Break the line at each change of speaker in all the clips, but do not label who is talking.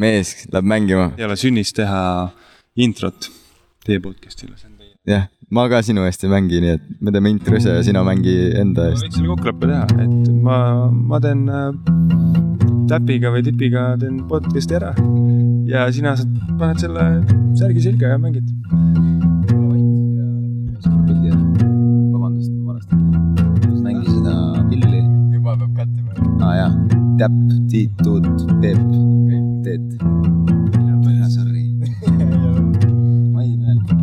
mees läheb mängima ,
ei ole sünnis teha introt teie podcast'ile , see on teie .
jah , ma ka sinu eest ei mängi , nii et me teeme intro ise ja sina mängi enda
me
eest .
võiksime kokkuleppe teha , et ma , ma teen äh, täpiga või tipiga teen podcast'i ära ja sina saad , paned selle särgi selga ja mängid .
vabandust , ma valestasin . mängi seda pilli .
juba peab kattima .
aa jaa , täpp , tiit , tuut , peep , teet . sorry . ma ei mäleta .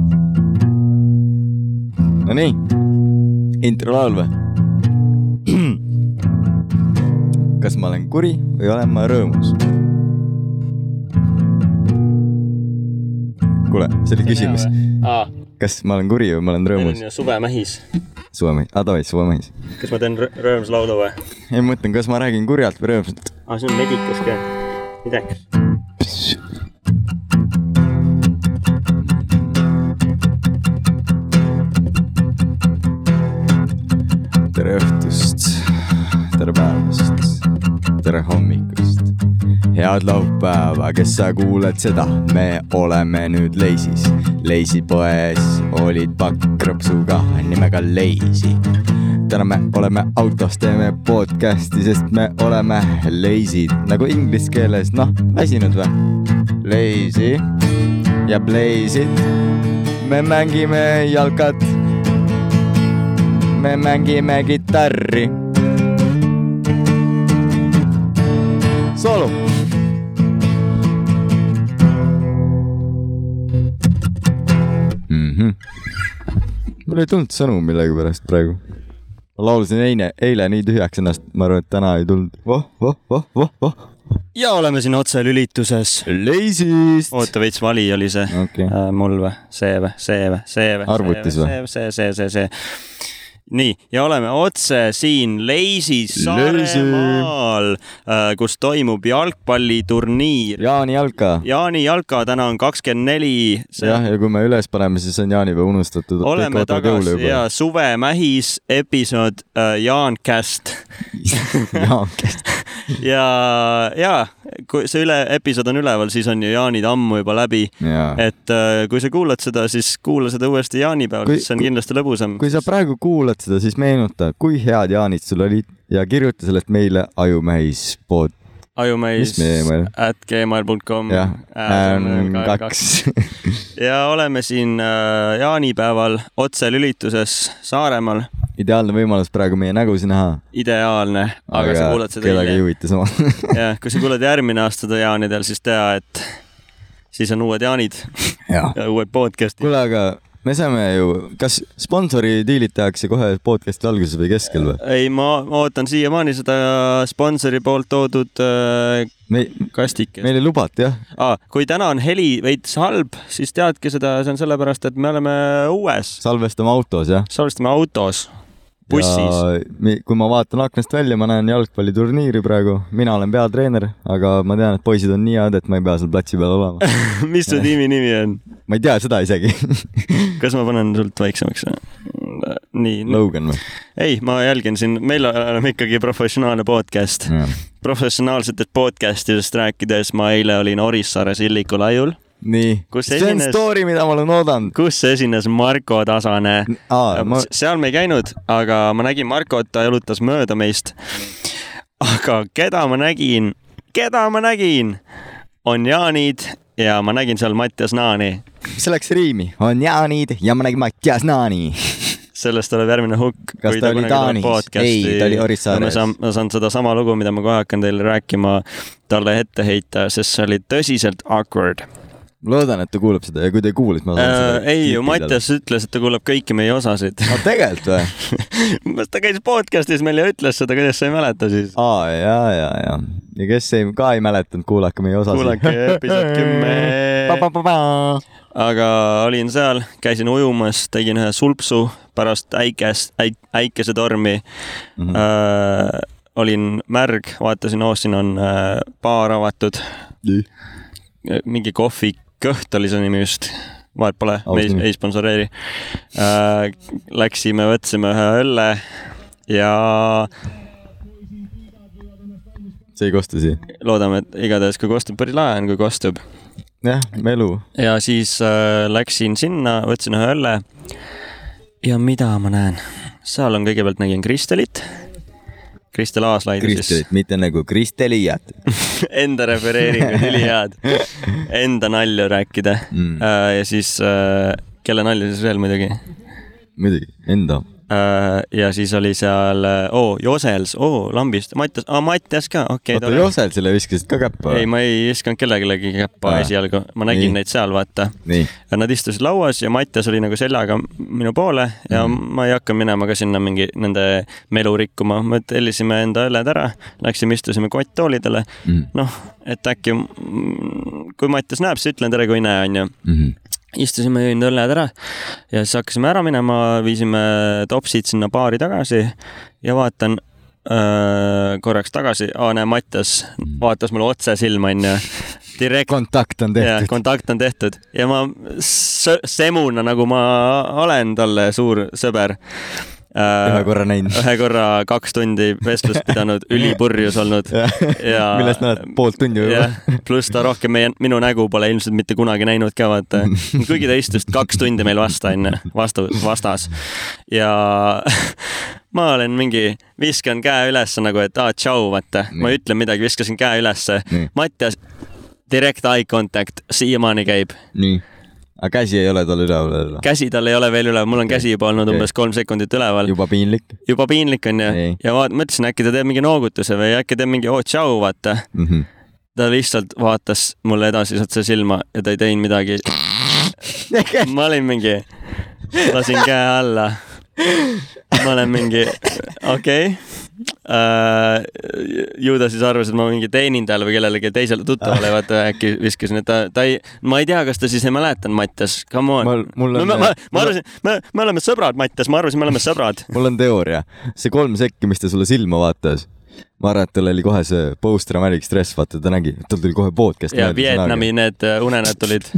Nonii , intro laul või ? kas ma olen kuri või olen ma rõõmus ? kuule , see oli küsimus ,
aa ,
kas ma olen kuri või ma olen
meil on
rõõmus ?
ju suvemähis .
suvemehis , aa davai , suvemehis .
kas ma teen rõ- rõõmslaulu või ?
ei , ma mõtlen , kas ma räägin kurjalt või rõõmsalt .
aa , siin on medikas ka . midagi .
tere õhtust , tere päevast , tere hommikust . head laupäeva , kes sa kuuled seda , me oleme nüüd Leisis . Leisi poes oli pakk krõpsuga nimega Leisi . täna me oleme autos , teeme podcast'i , sest me oleme leisid nagu inglise keeles , noh , väsinud või ? Leisi ja pleisid , me mängime jalkat me mängime kitarri . soolo . Mhm. mul ei tulnud sõnu millegipärast praegu . ma laulsin eile , eile nii tühjaks ennast , ma arvan , et täna ei tulnud voh, . voh , voh , voh , voh ,
ja oleme siin otselülituses .
leisist .
oota veits , vali oli see okay.
okei ,
äh, mul või ? see või , see või , see või ?
Arvutis või?
see , see , see , see , see . nii , ja oleme otse siin Leisis
Leisi.
Saaremaal , kus toimub jalgpalliturniir .
Jaani jalka .
Jaani Jalka täna on kakskümmend neli .
jah , ja kui me üles paneme , siis on jaanipäev unustatud .
oleme tagasi ja . Suve Mähis episood äh, Jaan Käst
Jaan käis .
ja , ja kui see üle , episood on üleval , siis on ju jaanid ammu juba läbi .
jaa .
et äh, kui sa kuulad seda , siis kuula seda uuesti jaanipäeval ,
Kui-
siis see on
kui-
kindlasti lõbusam .
kui sa praegu kuulad seda , siis meenuta , kui head jaanid sul olid ja kirjuta sellest meile Ajumehis pood ,
ajumeis
mis meie email?
at gmail.com
jah , kaks .
ja oleme siin äh, jaanipäeval otselülituses Saaremaal ,
ideaalne võimalus praegu meie nägusid näha .
ideaalne , aga sa kuulad seda
kedagi ei
hiljem .
huvita sama .
jah , kui sa kuulad järgmine aasta seda jaanidel , siis tea , et siis on uued jaanid
jah .
ja uued podcast'id .
kuule , aga me saame ju , kas sponsori diilid tehakse kohe podcast'i alguses või keskel või ?
ei , ma ma ootan siiamaani seda sponsori poolt toodud äh,
me ,
kastikest .
meile lubati jah ,
ah, . kui täna on heli veits halb , siis teadke seda , see on sellepärast , et me oleme õues ,
salvestame autos jah .
salvestame autos , bussis .
ja kui ma vaatan aknast välja , ma näen jalgpalliturniiri praegu , mina olen peatreener , aga ma tean , et poisid on nii head , et ma ei pea seal platsi peal olema .
mis su tiimi nimi on ?
ma ei tea seda isegi .
kas ma panen sult väiksemaks või ? nii no. ,
Logan või ?
ei , ma jälgin siin , meil oleme ikkagi professionaalne
Mm.
podcast . professionaalsetest podcast idest rääkides , ma eile olin Orissaare Silliku laiul ,
nii ,
Kus
see on
esines-
story , mida ma olen oodanud .
kus esines Marko Tasane
aa , ma ,
Nagu seal me ei käinud , aga ma nägin Markot , ta jalutas mööda meist . aga keda ma nägin , keda ma nägin , on Jaanid ja ma nägin seal Mattias Naani .
see läks riimi , on Jaanid ja ma nägin Mattias Naani .
sellest tuleb järgmine hukk .
Kas ta oli Taanis? Ei, ta oli Orissaares.
ma saan , ma saan sedasama lugu , mida ma kohe hakkan teile rääkima , talle ette heita , sest see oli tõsiselt awkward .
ma loodan , et ta kuulab seda ja kui ta ei kuule , siis ma saan seda
Äh, ei ju ,
klippi talle.
Mattias ütles , et ta kuulab kõiki meie osasid .
no tegelikult või ?
ta käis podcast'is meil ja ütles seda , kuidas sa ei mäleta siis ?
aa , ja , ja , ja , ja kes ei , ka ei mäletanud , kuulake meie osasid .
kuulake episood kümme .
kümme .
aga olin seal , käisin ujumas , tegin ühe sulpsu pärast äikest äik, , äikesetormi mm .
Mhm.
-hmm. Äh, olin märg , vaatasin , oo , siin on äh, baar avatud . mingi kohvi kõht oli see nimi vist , vahet pole ,
Aus
me ei,
nimi.
ei sponsoreeri äh, . Läksime , võtsime ühe õlle ja
see ei kosta siia .
loodame , et igatahes , kui kostub , päris lahe on , kui kostub .
jah , melu .
ja siis äh, läksin sinna , võtsin ühe õlle . ja mida ma näen ? seal on kõigepealt nägin Kristelit . Kristel Aaslaid siis
Kristelit , mitte nagu Kristeliat
enda refereeringud , ülihead . Enda nalju rääkida mm.
Mm. .
ja siis , kelle nalju siis veel muidugi .
muidugi , enda .
ja siis oli seal , oo , Josels , oo , Lambist , Mattias , aa , Mattias ka , okei
oota ,. Josel selle viskasid ka käppa
ei ,? ma ei viskanud kellelegi käppa
Aa.
esialgu , ma nägin
Ah. Nii.
Nii. neid seal , vaata .
nii ,
Nad istusid lauas ja Mattias oli nagu seljaga minu poole ja mm. ma ei hakka minema ka sinna mingi nende melu rikkuma , me tellisime enda õlled ära , läksime istusime kotttoolidele
Mhm.
noh , et äkki mm, kui Mattias näeb , siis ütlen tere , kui ei näe , onju .
Mm-hmm.
istusime , jõin õlled ära ja siis hakkasime ära minema , viisime topsid sinna baari tagasi ja vaatan öö, korraks tagasi , aa näe , Mattias vaatas mulle otse silma , onju . direkt ,
kontakt on
jah ,
tehtud .
kontakt on tehtud ja ma sö- semuna , nagu ma olen talle suur sõber .
ühe korra näinud .
ühe korra kaks tundi vestlust pidanud , ülipurjus olnud ja
millest nad pool tundi juba
jah , pluss ta rohkem meie , minu nägu pole ilmselt mitte kunagi näinud ka , vaata . kuigi ta istus kaks tundi meil vastu , onju , vastu , vastas . ja ma olen mingi , viskan käe ülesse nagu , et aa , tšau , vaata . ma
Nii.
ütlen midagi , viskasin käe ülesse
Nii. .
Mattias , direct eye contact siiamaani käib .
nii , aga käsi ei ole tal üleval veel või ?
käsi tal ei ole veel üleval , mul on käsi juba olnud
Okei.
umbes kolm sekundit üleval .
juba piinlik
juba piinlik onju
Ei. .
ja vaat- , mõtlesin , äkki ta teeb mingi noogutuse või äkki teeb mingi oo , tšau , vaata
mm . -hmm.
ta lihtsalt vaatas mulle edasi otse silma ja ta ei teinud midagi . ma olin mingi , lasin käe alla . ma olen mingi , okei okay. . ju ta siis arvas , et ma mingi teenindajale või kellelegi teisele tuttavale vaata äkki viskasin , et ta , ta ei , ma ei tea , kas ta siis ei mäletanud , Mattias , come on .
Mul- mul on-
ma , ma , ma arvasin , me , me oleme sõbrad , Mattias , ma arvasin , me oleme sõbrad .
mul on teooria , see kolm sekki , mis ta sulle silma vaatas , ma arvan , et tal oli kohe see post-traumatic stress , vaata ta nägi , tal tuli kohe podcast .
ja Vietnami . need äh, unenäod tulid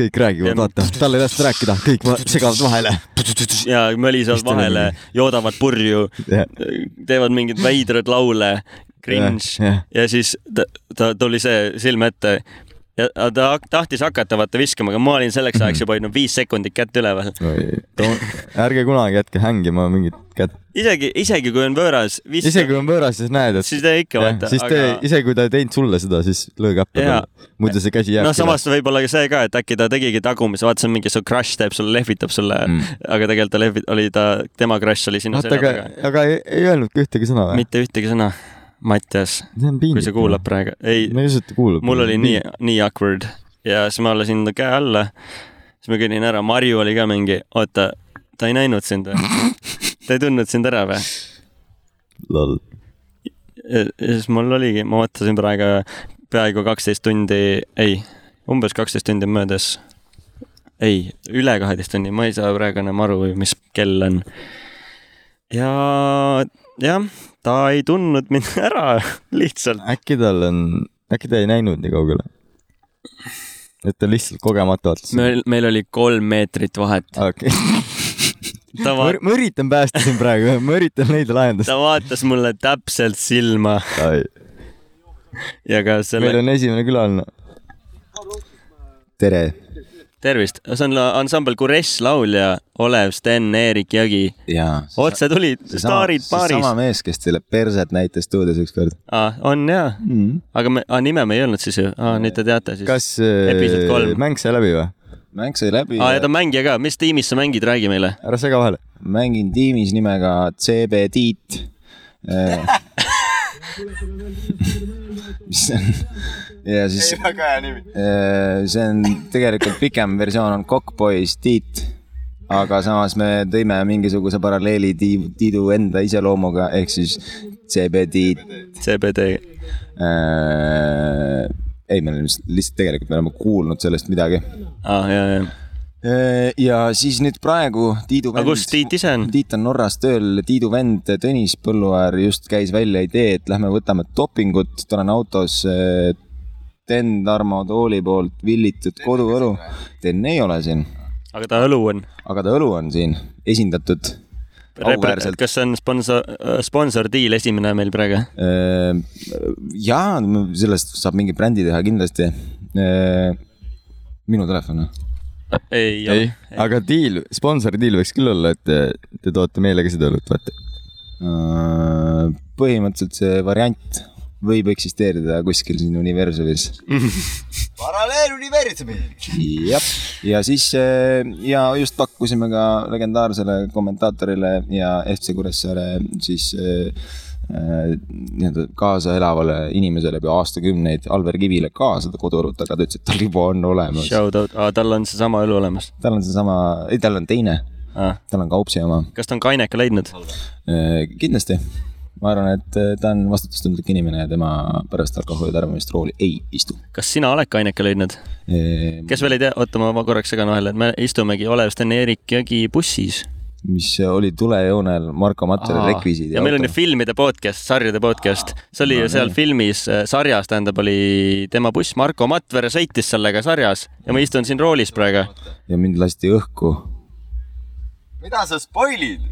kõik räägivad , vaata , tal ei lasta rääkida , kõik va- segavad vahele .
ja mölisevad vahele , joodavad purju teevad mingeid veidraid laule , cringe
jah.
yeah, . Yeah. ja siis ta, ta tuli see silme ette ja aga ta hak- tahtis hakata vaata viskama , aga ma olin selleks
Mhm.
ajaks juba hoidnud viis sekundit kätt üleval .
ärge kunagi jätke hängima mingit kätt ,
isegi , isegi kui on võõras , viis ,
isegi kui on võõras , siis näed , et
siis ta ikka
jah,
vaata ,
siis te , isegi kui ta ei teinud sulle seda , siis löö käppa
Jaa.
peale , muidu see käsi jääb
noh ,. samas võib-olla ka see ka , et äkki ta tegigi tagumise , vaata see on mingi su crush teeb sulle , lehvitab sulle mm. , aga tegelikult ta lehvit- , oli ta , tema crush oli sinu
oota ,
selja
aga
taga .,
aga ei, ei öelnudki ühtegi sõna või ?
mitte ühtegi sõna , Mattias ,
see on
kui
piinlik .
sa kuulad . praegu , ei ,
ma ei usu , et ta kuulab .
mul oli nii , nii awkward ja siis ma lasin ta käe alla . siis ma kõnnin ära , Marju oli ka mingi , oota , ta ei näinud sind või ? ta ei tundnud sind ära või ?
lol .
ja ja siis mul oligi , ma ootasin praegu peaaegu kaksteist tundi , ei , umbes kaksteist tundi on möödas . ei , üle kaheteist tunni , ma ei saa praegu enam aru , mis kell on . ja , jah , ta ei tundnud mind ära lihtsalt .
äkki tal on , äkki ta ei näinud nii kaugele ? et ta lihtsalt kogemata vaatas .
meil , meil oli kolm meetrit vahet .
okei ,
ta
ma
vaatas
ür- ma üritan päästa sind praegu , ma üritan leida lahendust .
ta vaatas mulle täpselt silma ja ka selle
meil , on esimene külaline .
tere ,
tervist , see on la- ansambel Kuress laulja Olev , Sten , Eerik , Jõgi .
jaa .
otse tulid , staarid paaris
sama . mees , kes teile perset näitas stuudios ükskord
Ah, on jaa ,
mm. .
aga me , ah, nime me ei öelnud siis ju ah, , nüüd te teate siis .
Äh, kas
Episood kolm.
äh, mäng sai läbi või ?
mäng sai läbi
Ah, ja ta on mängija ka , mis tiimis sa mängid , räägi meile .
ära sega vahele .
mängin tiimis nimega CB Tiit . mis see on ? ja siis . väga hea nimi . see on tegelikult pikem versioon on Kokkpoiss Tiit . aga samas me tõime mingisuguse paralleeli Tiidu , Tiidu enda iseloomuga ehk siis CB Tiit .
CBD .
Äh, ei , me oleme lihtsalt- lihtsalt tegelikult me oleme kuulnud sellest midagi .
Ah, jaa, jaa.
Äh, ja siis nüüd praegu Tiidu .
aga kus Tiit ise on ?
Tiit on Norras tööl , Tiidu vend Tõnis Põlluaar just käis välja idee , et lähme võtame dopingut , tal on autos eh, Ten Tarmo Tooli poolt villitud koduõlu . Ten ei ole siin ,
aga ta õlu on .
aga ta õlu on siin esindatud . auväärselt .
kas see on äh, sponsor , sponsordiil esimene meil praegu ?
ja Äh, sellest saab mingi brändi teha kindlasti . minu telefon .
ei,
ei , aga diil , sponsor diil võiks küll olla , et te, te toote meile ka seda õlut , vaata .
Äh, põhimõtteliselt see variant võib eksisteerida kuskil siin universumis .
paralleeluniversumi .
jah , ja siis eh, ja just pakkusime ka legendaarsele kommentaatorile ja FC Kuressaare siis eh, eh, nii-öelda kaasa elavale inimesele juba aastakümneid , Alver Kivile ka seda koduõlut , aga ta ütles , et tal juba on olemas .
Shout out , tal on seesama õlu olemas
tal on seesama , ei , tal on teine ,
ah. .
tal on Kaupsi oma .
kas ta on kaineka leidnud ?
kindlasti , ma arvan , et eh, ta on vastutustundlik inimene ja tema pärast alkoholi tarbimist rooli ei istu .
kas sina oled kaineka leidnud ? kes veel ei tea , oota , ma ma korraks segan vahele , et me istumegi Olev Sten ja Erik Jõgi bussis .
mis oli tulejoonel Marko Matteri rekvisiidi .
ja meil on ju filmide podcast , sarjade podcast , see oli ju seal filmis , sarjas tähendab , oli tema buss , Marko Matvere sõitis sellega sarjas ja ma istun siin roolis praegu .
ja mind lasti õhku .
mida sa spoilid ?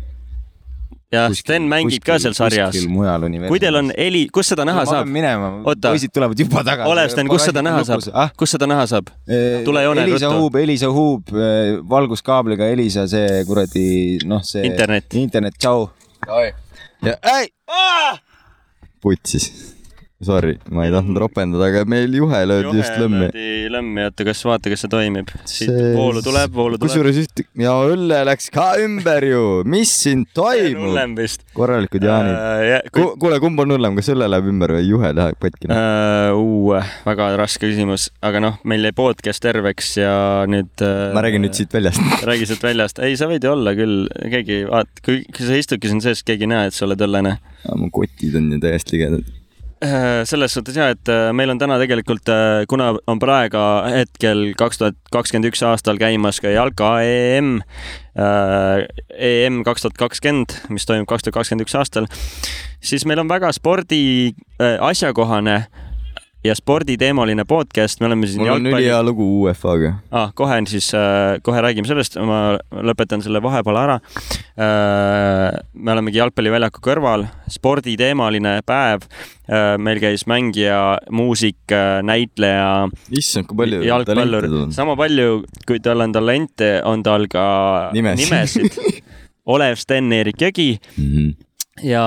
ja Sten mängib ka seal sarjas .
kuskil mujal universumis .
kui teil on heli , kus seda näha
ma
saab
pean ? minema ,
Oota.
poisid tulevad juba tagasi .
Olev Sten , kus seda näha saab
ah ?,
kus seda näha saab ? Noh, tule joonele
Elisa
ruttu .
Huub , Elisa Huub ,
äh,
valguskaabliga Elisa , see kuradi , noh , see .
Internet.
internet , tšau .
ei .
Ah!
putsis . Sorry , ma ei tahtnud ropendada , aga meil juhe löödi just lõmmi .
lõmmi , oota , kas vaata , kas see toimib ? siit
See-
voolu tuleb , voolu tuleb .
kusjuures üht- ja õlle läks ka ümber ju , mis siin toimub ?
hullem Äh, vist .
korralikud jaanid .
Jaanid .
kuule , kumb on hullem , kas õlle läheb ümber või juhe läheb katki ?
uue , Äh, väga raske küsimus , aga noh , meil jäi podcast terveks ja nüüd .
ma räägin nüüd . siit väljast .
räägi sealt väljast , ei , sa võid ju olla küll , keegi , vaat , kui kui sa istudki siin sees , keegi ei näe , et sa oled õllene .
mu kotid on ju täiesti ligedad .
Äh, selles suhtes ja , et äh, meil on täna tegelikult , kuna on praegu hetkel kaks tuhat kakskümmend üks aastal käimas ka jalka E EM , EM äh, E kaks tuhat kakskümmend , mis toimub kaks tuhat kakskümmend üks aastal , siis meil on väga spordi äh, asjakohane ja sporditeemaline podcast , me oleme siin
mul on
jalgpalli
ülihea lugu UEFA-ga .
ah, . kohe on siis , kohe räägime sellest , ma lõpetan selle vahepeal ära . me olemegi jalgpalliväljaku kõrval , sporditeemaline päev . meil käis mängija , muusik , näitleja ,
issand , kui palju
jalgpallur
talente tal , on .
sama palju , kui tal on talente , on tal ka
Nimesid.
nimesid . Olev Sten Erik Jõgi
Mhm.
ja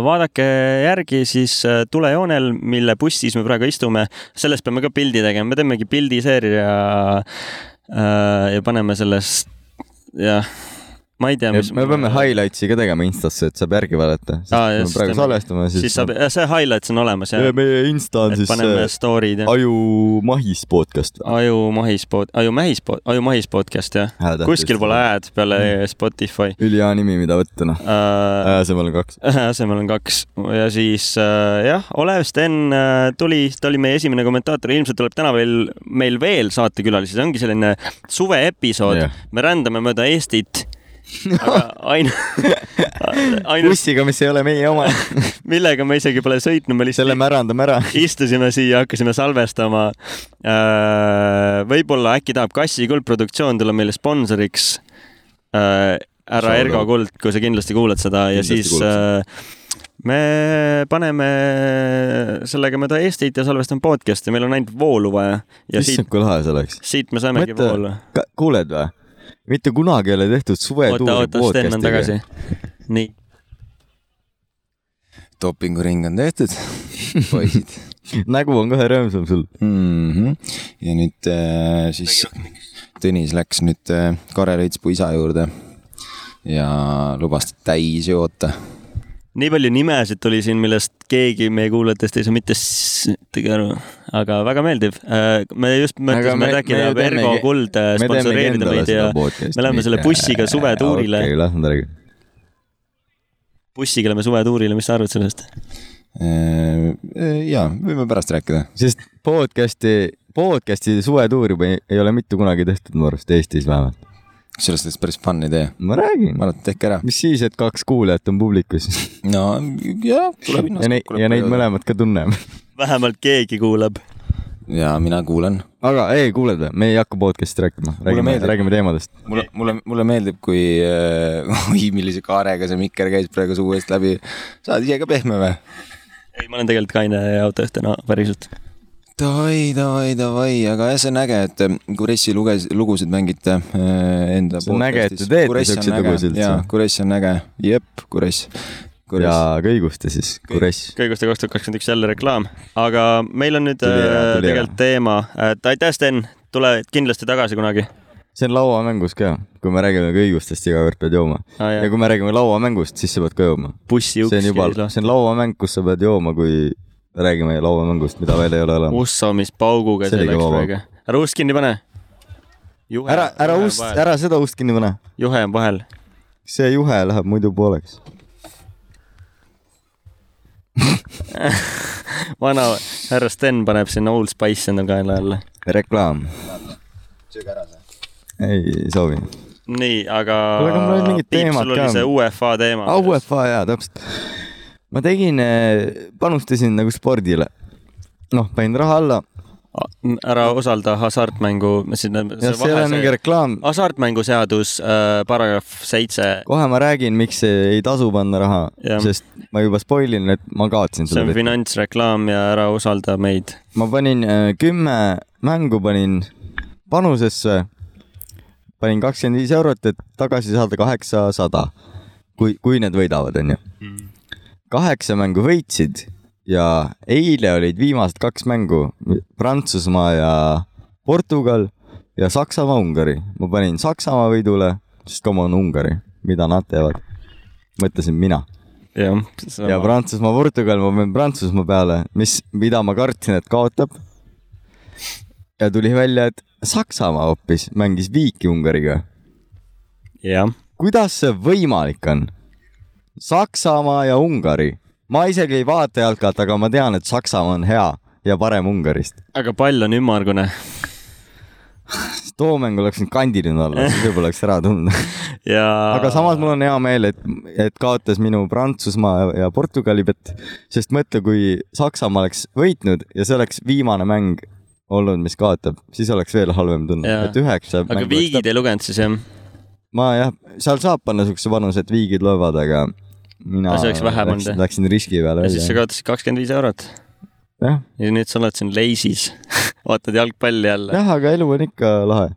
vaadake järgi siis äh, tulejoonel , mille bussis me praegu istume , sellest peame ka pildi tegema , me teemegi pildiseeria äh, ja paneme sellest , jah , ma ei tea , mis .
me peame . highlights'i ka tegema Instasse , et saab järgi vaadata , sest
Aa,
kui
just,
me praegu
teeme.
salvestame , siis .
siis saab , see highlights on olemas jah
ja , meie Insta on
et
siis
paneme
äh,
story'd ja
ajumahis podcast .
ajumahis pod- , ajumähis pod- , ajumahis podcast jah , kuskil pole . ad peale
Mm.
Spotify
ülihea nimi , mida võtta noh ,
äh, .
asemel on kaks .
asemel on kaks ja siis äh, jah , Olev Sten äh, tuli , ta oli meie esimene kommentaator , ilmselt tuleb täna veel meil veel saatekülalisi , see ongi selline suveepisood
Jah. ,
me rändame mööda Eestit . aga ainu- , ainult
bussiga , mis ei ole meie oma ,
millega me isegi pole sõitnud , me
selle
lihtsalt
me ärandame ära .
istusime siia , hakkasime salvestama . võib-olla äkki tahab Kassi Kuld produktsioon tulla meile sponsoriks . härra
Saame
Ergo
teha.
Kuld , kui sa kindlasti kuulad seda ja
Kindlasti
siis
kuulad
äh, me paneme sellega mööda Eestit ja salvestame podcast'i , meil on ainult voolu vaja ja siit ,
issand , kui lahe see oleks .
siit me saamegi
Mõtle-
voolu .
kuuled või ? mitte kunagi ei ole tehtud
oota ,
suvetuuri
oota , Sten on . tagasi . nii ,
dopinguring on tehtud , poisid
nägu on kohe rõõmsam sul .
mm . -hmm. ja nüüd äh, siis Tõnis läks nüüd äh, Kare Reitspuu isa juurde ja lubas ta täis joota .
nii palju nimesid tuli siin , millest keegi meie kuulajatest ei saa mitte sittagi aru , aga väga meeldiv . me just mõtlesime
me-
rääkida
me ju
Vergo
teemegi-
Kuld äh, sponsoreerida meid ja me läheme selle
Äh,
bussiga suvetuurile.
okei , las nad räägivad .
bussiga lähme suvetuurile , mis sa arvad sellest ?
ja Äh, võime pärast rääkida .
sest podcast'i , podcast'i suvetuuri ei, ei ole mitte kunagi tehtud , ma arvan , Eestis vähemalt .
sellest oleks päris fun idee .
ma räägin
ma , arvan , et tehke ära .
mis siis , et kaks kuulajat on publikus
no jah , tuleb
ja neid , ja neid . mõlemad ka tunneme .
vähemalt keegi kuulab .
ja mina kuulan .
aga ei , kuuled või , me ei hakka podcast'i rääkima , räägime ,
meeldib.
räägime teemadest .
mulle , mulle , mulle meeldib , kui äh, , oi , millise kaarega see mikker käis praegu suu eest läbi . sa oled ise ka pehme või ?
ei , ma olen tegelikult kaine ja autojuhtina päriselt .
davai , davai , davai , aga jah , see on äge , et ähm, Kuressi luges , lugusid mängite äh, enda .
See on äge, et te teete siukseid lugusid üldse.
jaa , Kuress on äge , jep , Kuress .
ja
Kuress ,
kõiguste siis , kuress .
kõiguste kaks tuhat kakskümmend üks jälle reklaam , aga meil on nüüd
Tuli ära,
äh,
tuli
tegelikult teema , et aitäh , Sten , tule kindlasti tagasi kunagi .
see on lauamängus ka , kui me räägime kõigustest , iga kord pead jooma . ja kui me räägime lauamängust , siis sa pead ka jooma .
bussi uks noh.
see on juba ,
lahti .
see on lauamäng , kus sa pead jooma , kui räägime lauamängust , mida veel ei ole olemas .
Usso , mis pauguga
See
see
oli
läks
kõva
praegu . ära ust kinni pane .
ära , ära ust , ära seda ust kinni pane .
juhe on vahel .
see juhe läheb muidu pooleks .
vana härra Sten paneb sinna Old Spice enda kaela jälle .
reklaam . ei soovi .
nii , aga .
Kuule, aga mul olid mingid teemad
sul oli
ka.
see UEFA teema .
aa , UEFA jaa , täpselt . ma tegin , panustasin nagu spordile . noh , panin raha alla .
ära osalda hasartmängu , sinna .
jah , see ei ole mingi reklaam .
Ah. hasartmänguseadus äh, paragrahv seitse ,
kohe ma räägin , miks ei tasu panna raha
Jah. ,
sest ma juba spoilin , et ma kaotsin
see on
selle .
finantsreklaam ja ära usalda meid .
ma panin äh, kümme mängu , panin panusesse . panin kakskümmend viis eurot , et tagasi saada kaheksasada . kui , kui need võidavad , onju . kaheksa mängu võitsid ja eile olid viimased kaks mängu Prantsusmaa ja Portugal ja Saksamaa , Ungari . ma panin Saksamaa võidule , sest come on Ungari , mida nad teevad . mõtlesin mina
jah ,
ja Prantsusmaa , Portugal , ma panin Prantsusmaa peale , mis , mida ma kartsin , et kaotab . ja tuli välja , et Saksamaa hoopis mängis viiki Ungariga .
jah ,
kuidas see võimalik on ? Saksamaa ja Ungari , ma isegi ei vaata jalkat , aga ma tean , et Saksamaa on hea ja parem Ungarist .
aga pall on ümmargune
too mäng oleks nüüd kandiline olla , siis võib-olla oleks ära tundnud .
ja .
aga samas mul on hea meel , et , et kaotas minu Prantsusmaa ja- ja Portugali pett , sest mõtle , kui Saksamaa oleks võitnud ja see oleks viimane mäng olnud , mis kaotab , siis oleks veel halvem tunne ,
Jaa.
et üheksa .
aga viigid ei lugenud siis jah ?
ma jah , seal saab panna siukse panuse , et viigid loevad , aga mina
Aga see oleks vähem
läksin,
olnud, jah?
läksin riski peale
ja siis sa
välja .
kaotasid kakskümmend viis eurot
jah ,
ja nüüd sa oled siin leisis , vaatad jalgpalli jälle .
jah , aga elu on ikka lahe ,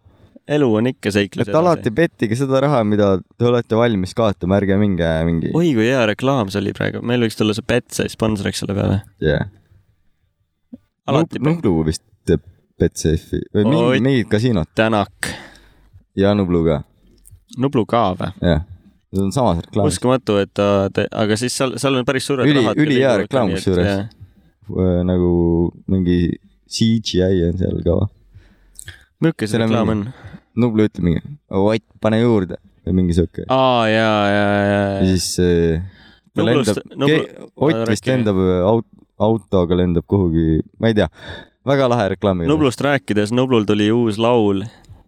elu on ikka seiklus
et . alati pettige seda raha , mida te olete valmis kaotama , ärge minge mingi
oi kui hea reklaam see oli praegu , meil võiks tulla see Betsy sponsoriks selle peale .
yeah. .
alati Pe-
Nublu vist teeb Betsafe'i või
Oi.
mingid, mingid kasiinod
Tänak ,
ja Nublu ka
Nublu ka või ?
jah , see on samas reklaamis .
uskumatu , et ta , aga siis seal , seal on päris suured
Üli-
rahad .
ülihea reklaam kusjuures. nagu mingi CGI on seal ka .
milline see
Seal on
reklaam on
mingi- ? Nublu ütleb mingi , Ott , pane juurde või mingi sihuke .
aa , ja , ja ,
ja
ja ,
siis äh, ta
Nublust-
lendab ,
Nublu-
Ott vist
rääkige.
lendab äh, aut- , autoga lendab kuhugi , ma ei tea , väga lahe reklaam .
Nublust rääkides , Nublul tuli uus laul ,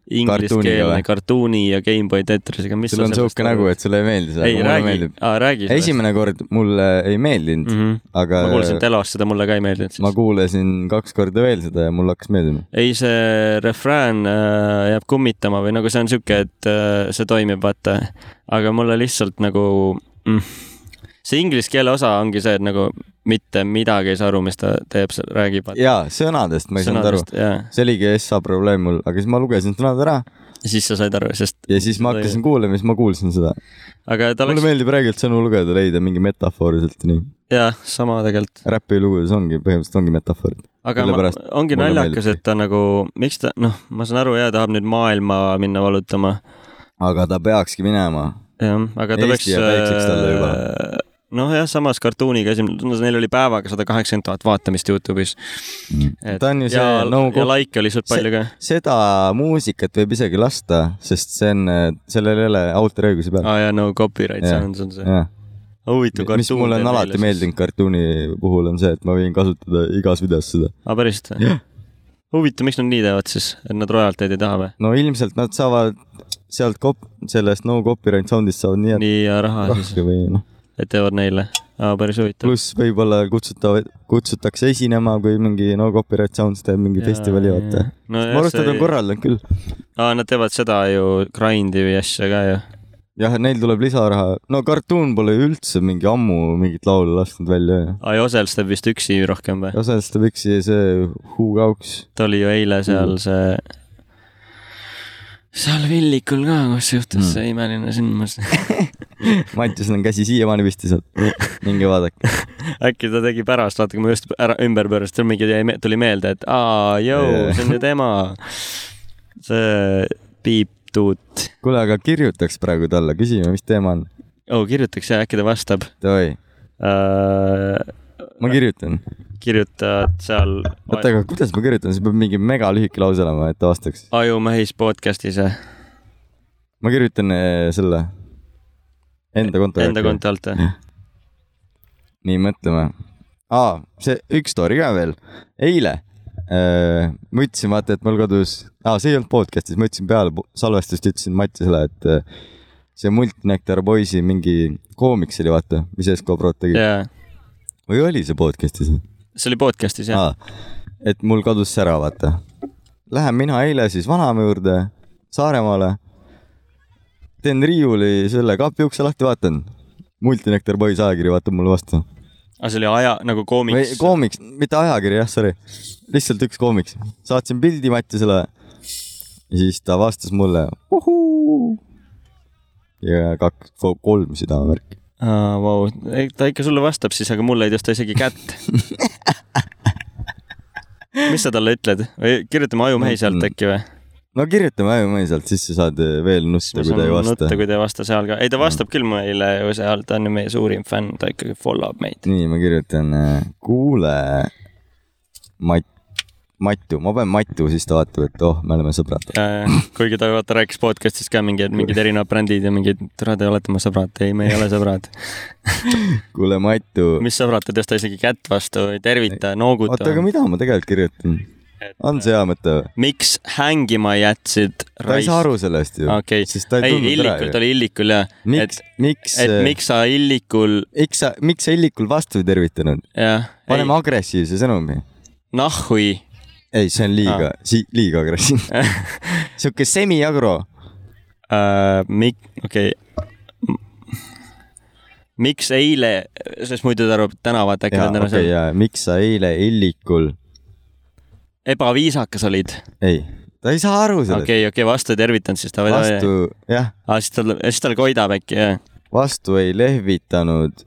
ingliskeelne
Kartuuniga või?
kartuuni ja Gameboy Tetrisega , mis
sul on sihuke nägu , et sulle ei meeldi see ,
ei
aga mulle
räägi
meeldib .,
aa räägi .
esimene kord mulle ei meeldinud mm ,
-hmm.
-hmm. aga
ma kuulsin telost seda , mulle ka ei meeldinud
ma
siis .
kuulasin kaks korda veel seda ja mulle hakkas meeldima .
ei , see refrään äh, jääb kummitama või nagu see on sihuke , et äh, see toimib , vaata . aga mulle lihtsalt nagu mm, , see inglise keele osa ongi see , et nagu mitte midagi ei saa aru , mis ta teeb , räägib .
jaa , sõnadest ma ei saanud aru .
jaa ,
see oligi SA probleem mul , aga siis ma lugesin sõnad ära
siis sa said aru , sest ,
ja siis ma hakkasin kuulama ja siis ma kuulsin seda .
aga ta
mulle
oleks ,
meeldib räägilt sõnu lugeda , leida mingi metafooriliselt ja nii .
jaa , sama tegelikult .
räpi lugudes ongi , põhimõtteliselt ongi metafoorid .
aga
Mille
ma,
pärast
ongi
mulle
naljakas ,
meeldib.
et ta nagu , miks ta , noh , ma saan aru , jaa , tahab nüüd maailma minna valutama
aga ta peakski minema .
jah , aga ta
Eesti
peaks
jääb väikseks talle juba. .
nojah , samas kartuuniga esimene , no neil oli päevaga sada kaheksakümmend tuhat vaatamist Youtube'is . Mm.
Ta on ju see
ja,
no
ja
go-
likee oli sealt palju ka .
seda muusikat võib isegi lasta , sest see on , sellel ei ole autoriõiguse peal .
aa jaa , no copyright , see
Jah,
on , see on Ah, see .
jah ,
huvitav kartuun .
mis mulle on alati meeldinud . kartuuni puhul on see , et ma võin kasutada igas videos seda .
aa , päriselt või ? Ah, huvitav , miks nad nii teevad siis , et nad royalteid ei taha või ?
no ilmselt nad saavad sealt kop- , sellest no copyright sound'ist saavad nii , et
nii hea raha siis ,
rahvi või noh ,
et teevad neile . päris huvitav .
pluss võib-olla kutsutavad , kutsutakse esinema , kui mingi no copyright sounds teeb mingi festivali , vaata . ma arvan , et nad on . korraldanud küll .
aa , Ah, nad teevad seda ju grind'i või asja ka ju .
jah , neil tuleb lisaraha . no Cartoon pole ju üldse mingi ammu mingit laulu lasknud välja ju .
aa , Josels teeb vist üksi rohkem või ?
osaliselt ta võiks siia see Who Kauks .
ta oli ju eile seal
Mhm.
see , seal Villikul ka , kus juhtus
Mm.
mm. see imeline sündmus .
Mattiusel on käsi siiamaani püsti seal . minge vaadake .
äkki ta tegi pärast , vaata kui ma just ära ümber pöörasin , seal mingi jäi me- tuli meelde , et aa , jõu , see on ju tema . see Piip Tuut .
kuule , aga kirjutaks praegu talle , küsime , mis teema on .
oo , Oh, kirjutaks ja äkki ta vastab
Davai ,
uh, .
ma kirjutan .
kirjutad seal
oota , aga kuidas ma kirjutan , see peab mingi megalühike lause olema , et ta vastaks .
Ajumähis podcast'is või ?
ma kirjutan eh, selle enda konto .
Enda konto alt või ?
nii , mõtleme . aa , see üks story ka veel . eile äh, ma ütlesin , vaata , et mul kodus , aa , see ei olnud podcast'is , ma ütlesin peale po- salvestust , ütlesin Mattiasele , et äh, see Multinektar Boysi mingi koomiks oli , vaata , mis Escobarot tegi yeah. .
jaa ,
või oli see podcast'is ?
see oli podcast'is jah .
aa , et mul kadus see ära , vaata . Lähen mina eile siis vanaema juurde Saaremaale . teen riiuli selle kapi ukse lahti , vaatan . multinektar poiss ajakiri vaatab mulle vastu .
aga see oli aja nagu
või
koomiks .
koomiks , mitte ajakiri jah , sorry . lihtsalt üks koomiks . saatsin pildi Mattiasele . ja siis ta vastas mulle . ja kaks , kolm südamemärki .
aa , vau , ta ikka sulle vastab siis , aga mulle ei tõsta isegi kätt . mis sa talle ütled või kirjutame Ajumehi sealt äkki või ?
no kirjutame ajumõisalt , siis sa saad veel nutta , kui ta ei vasta .
kui ta ei vasta seal ka , ei ta vastab küll meile ju seal , ta on ju meie suurim fänn , ta ikkagi follow ab meid .
nii , ma kirjutan , kuule , Mat- , Mattu , ma panen Mattu , siis ta vaatab , et oh , me oleme sõbrad .
Äh, kuigi ta vaata rääkis podcast'is ka mingid , mingid erinevad brändid ja mingid , tere , te olete mu sõbrad , ei , me ei ole sõbrad .
kuule , Mattu ,
mis sõbrad , ta ei tõsta isegi kätt vastu , ei tervita , nooguta
oota , aga . mida ma tegelikult kirjutan ? on see hea mõte või ?
miks hängima jätsid
ta ei saa aru sellest ju
okei.
sest ta ei
ei ,
tundnud
Illikul , ta
ära ju .
oli Illikul jah .
miks , miks , äh,
et miks sa Illikul ,
miks sa , miks sa Illikul vastu ei tervitanud ?
jah .
paneme agressiivse sõnumi .
nahhui .
ei , see on liiga , si- , liiga agressiivne . sihuke semi-agro .
äh, Mik- , okei . miks eile , sest muidu ta arvab , et täna vaata äkki
jaa ,
ta on täna
okei ,
seal .
jaa , miks sa eile Illikul ,
ebaviisakas olid .
ei , ta ei saa aru sellest .
okei , okei , vastu ei tervitanud siis ta . aa ,
vastu , jah ,
siis tal , siis tal koidab äkki jah .
vastu ei lehvitanud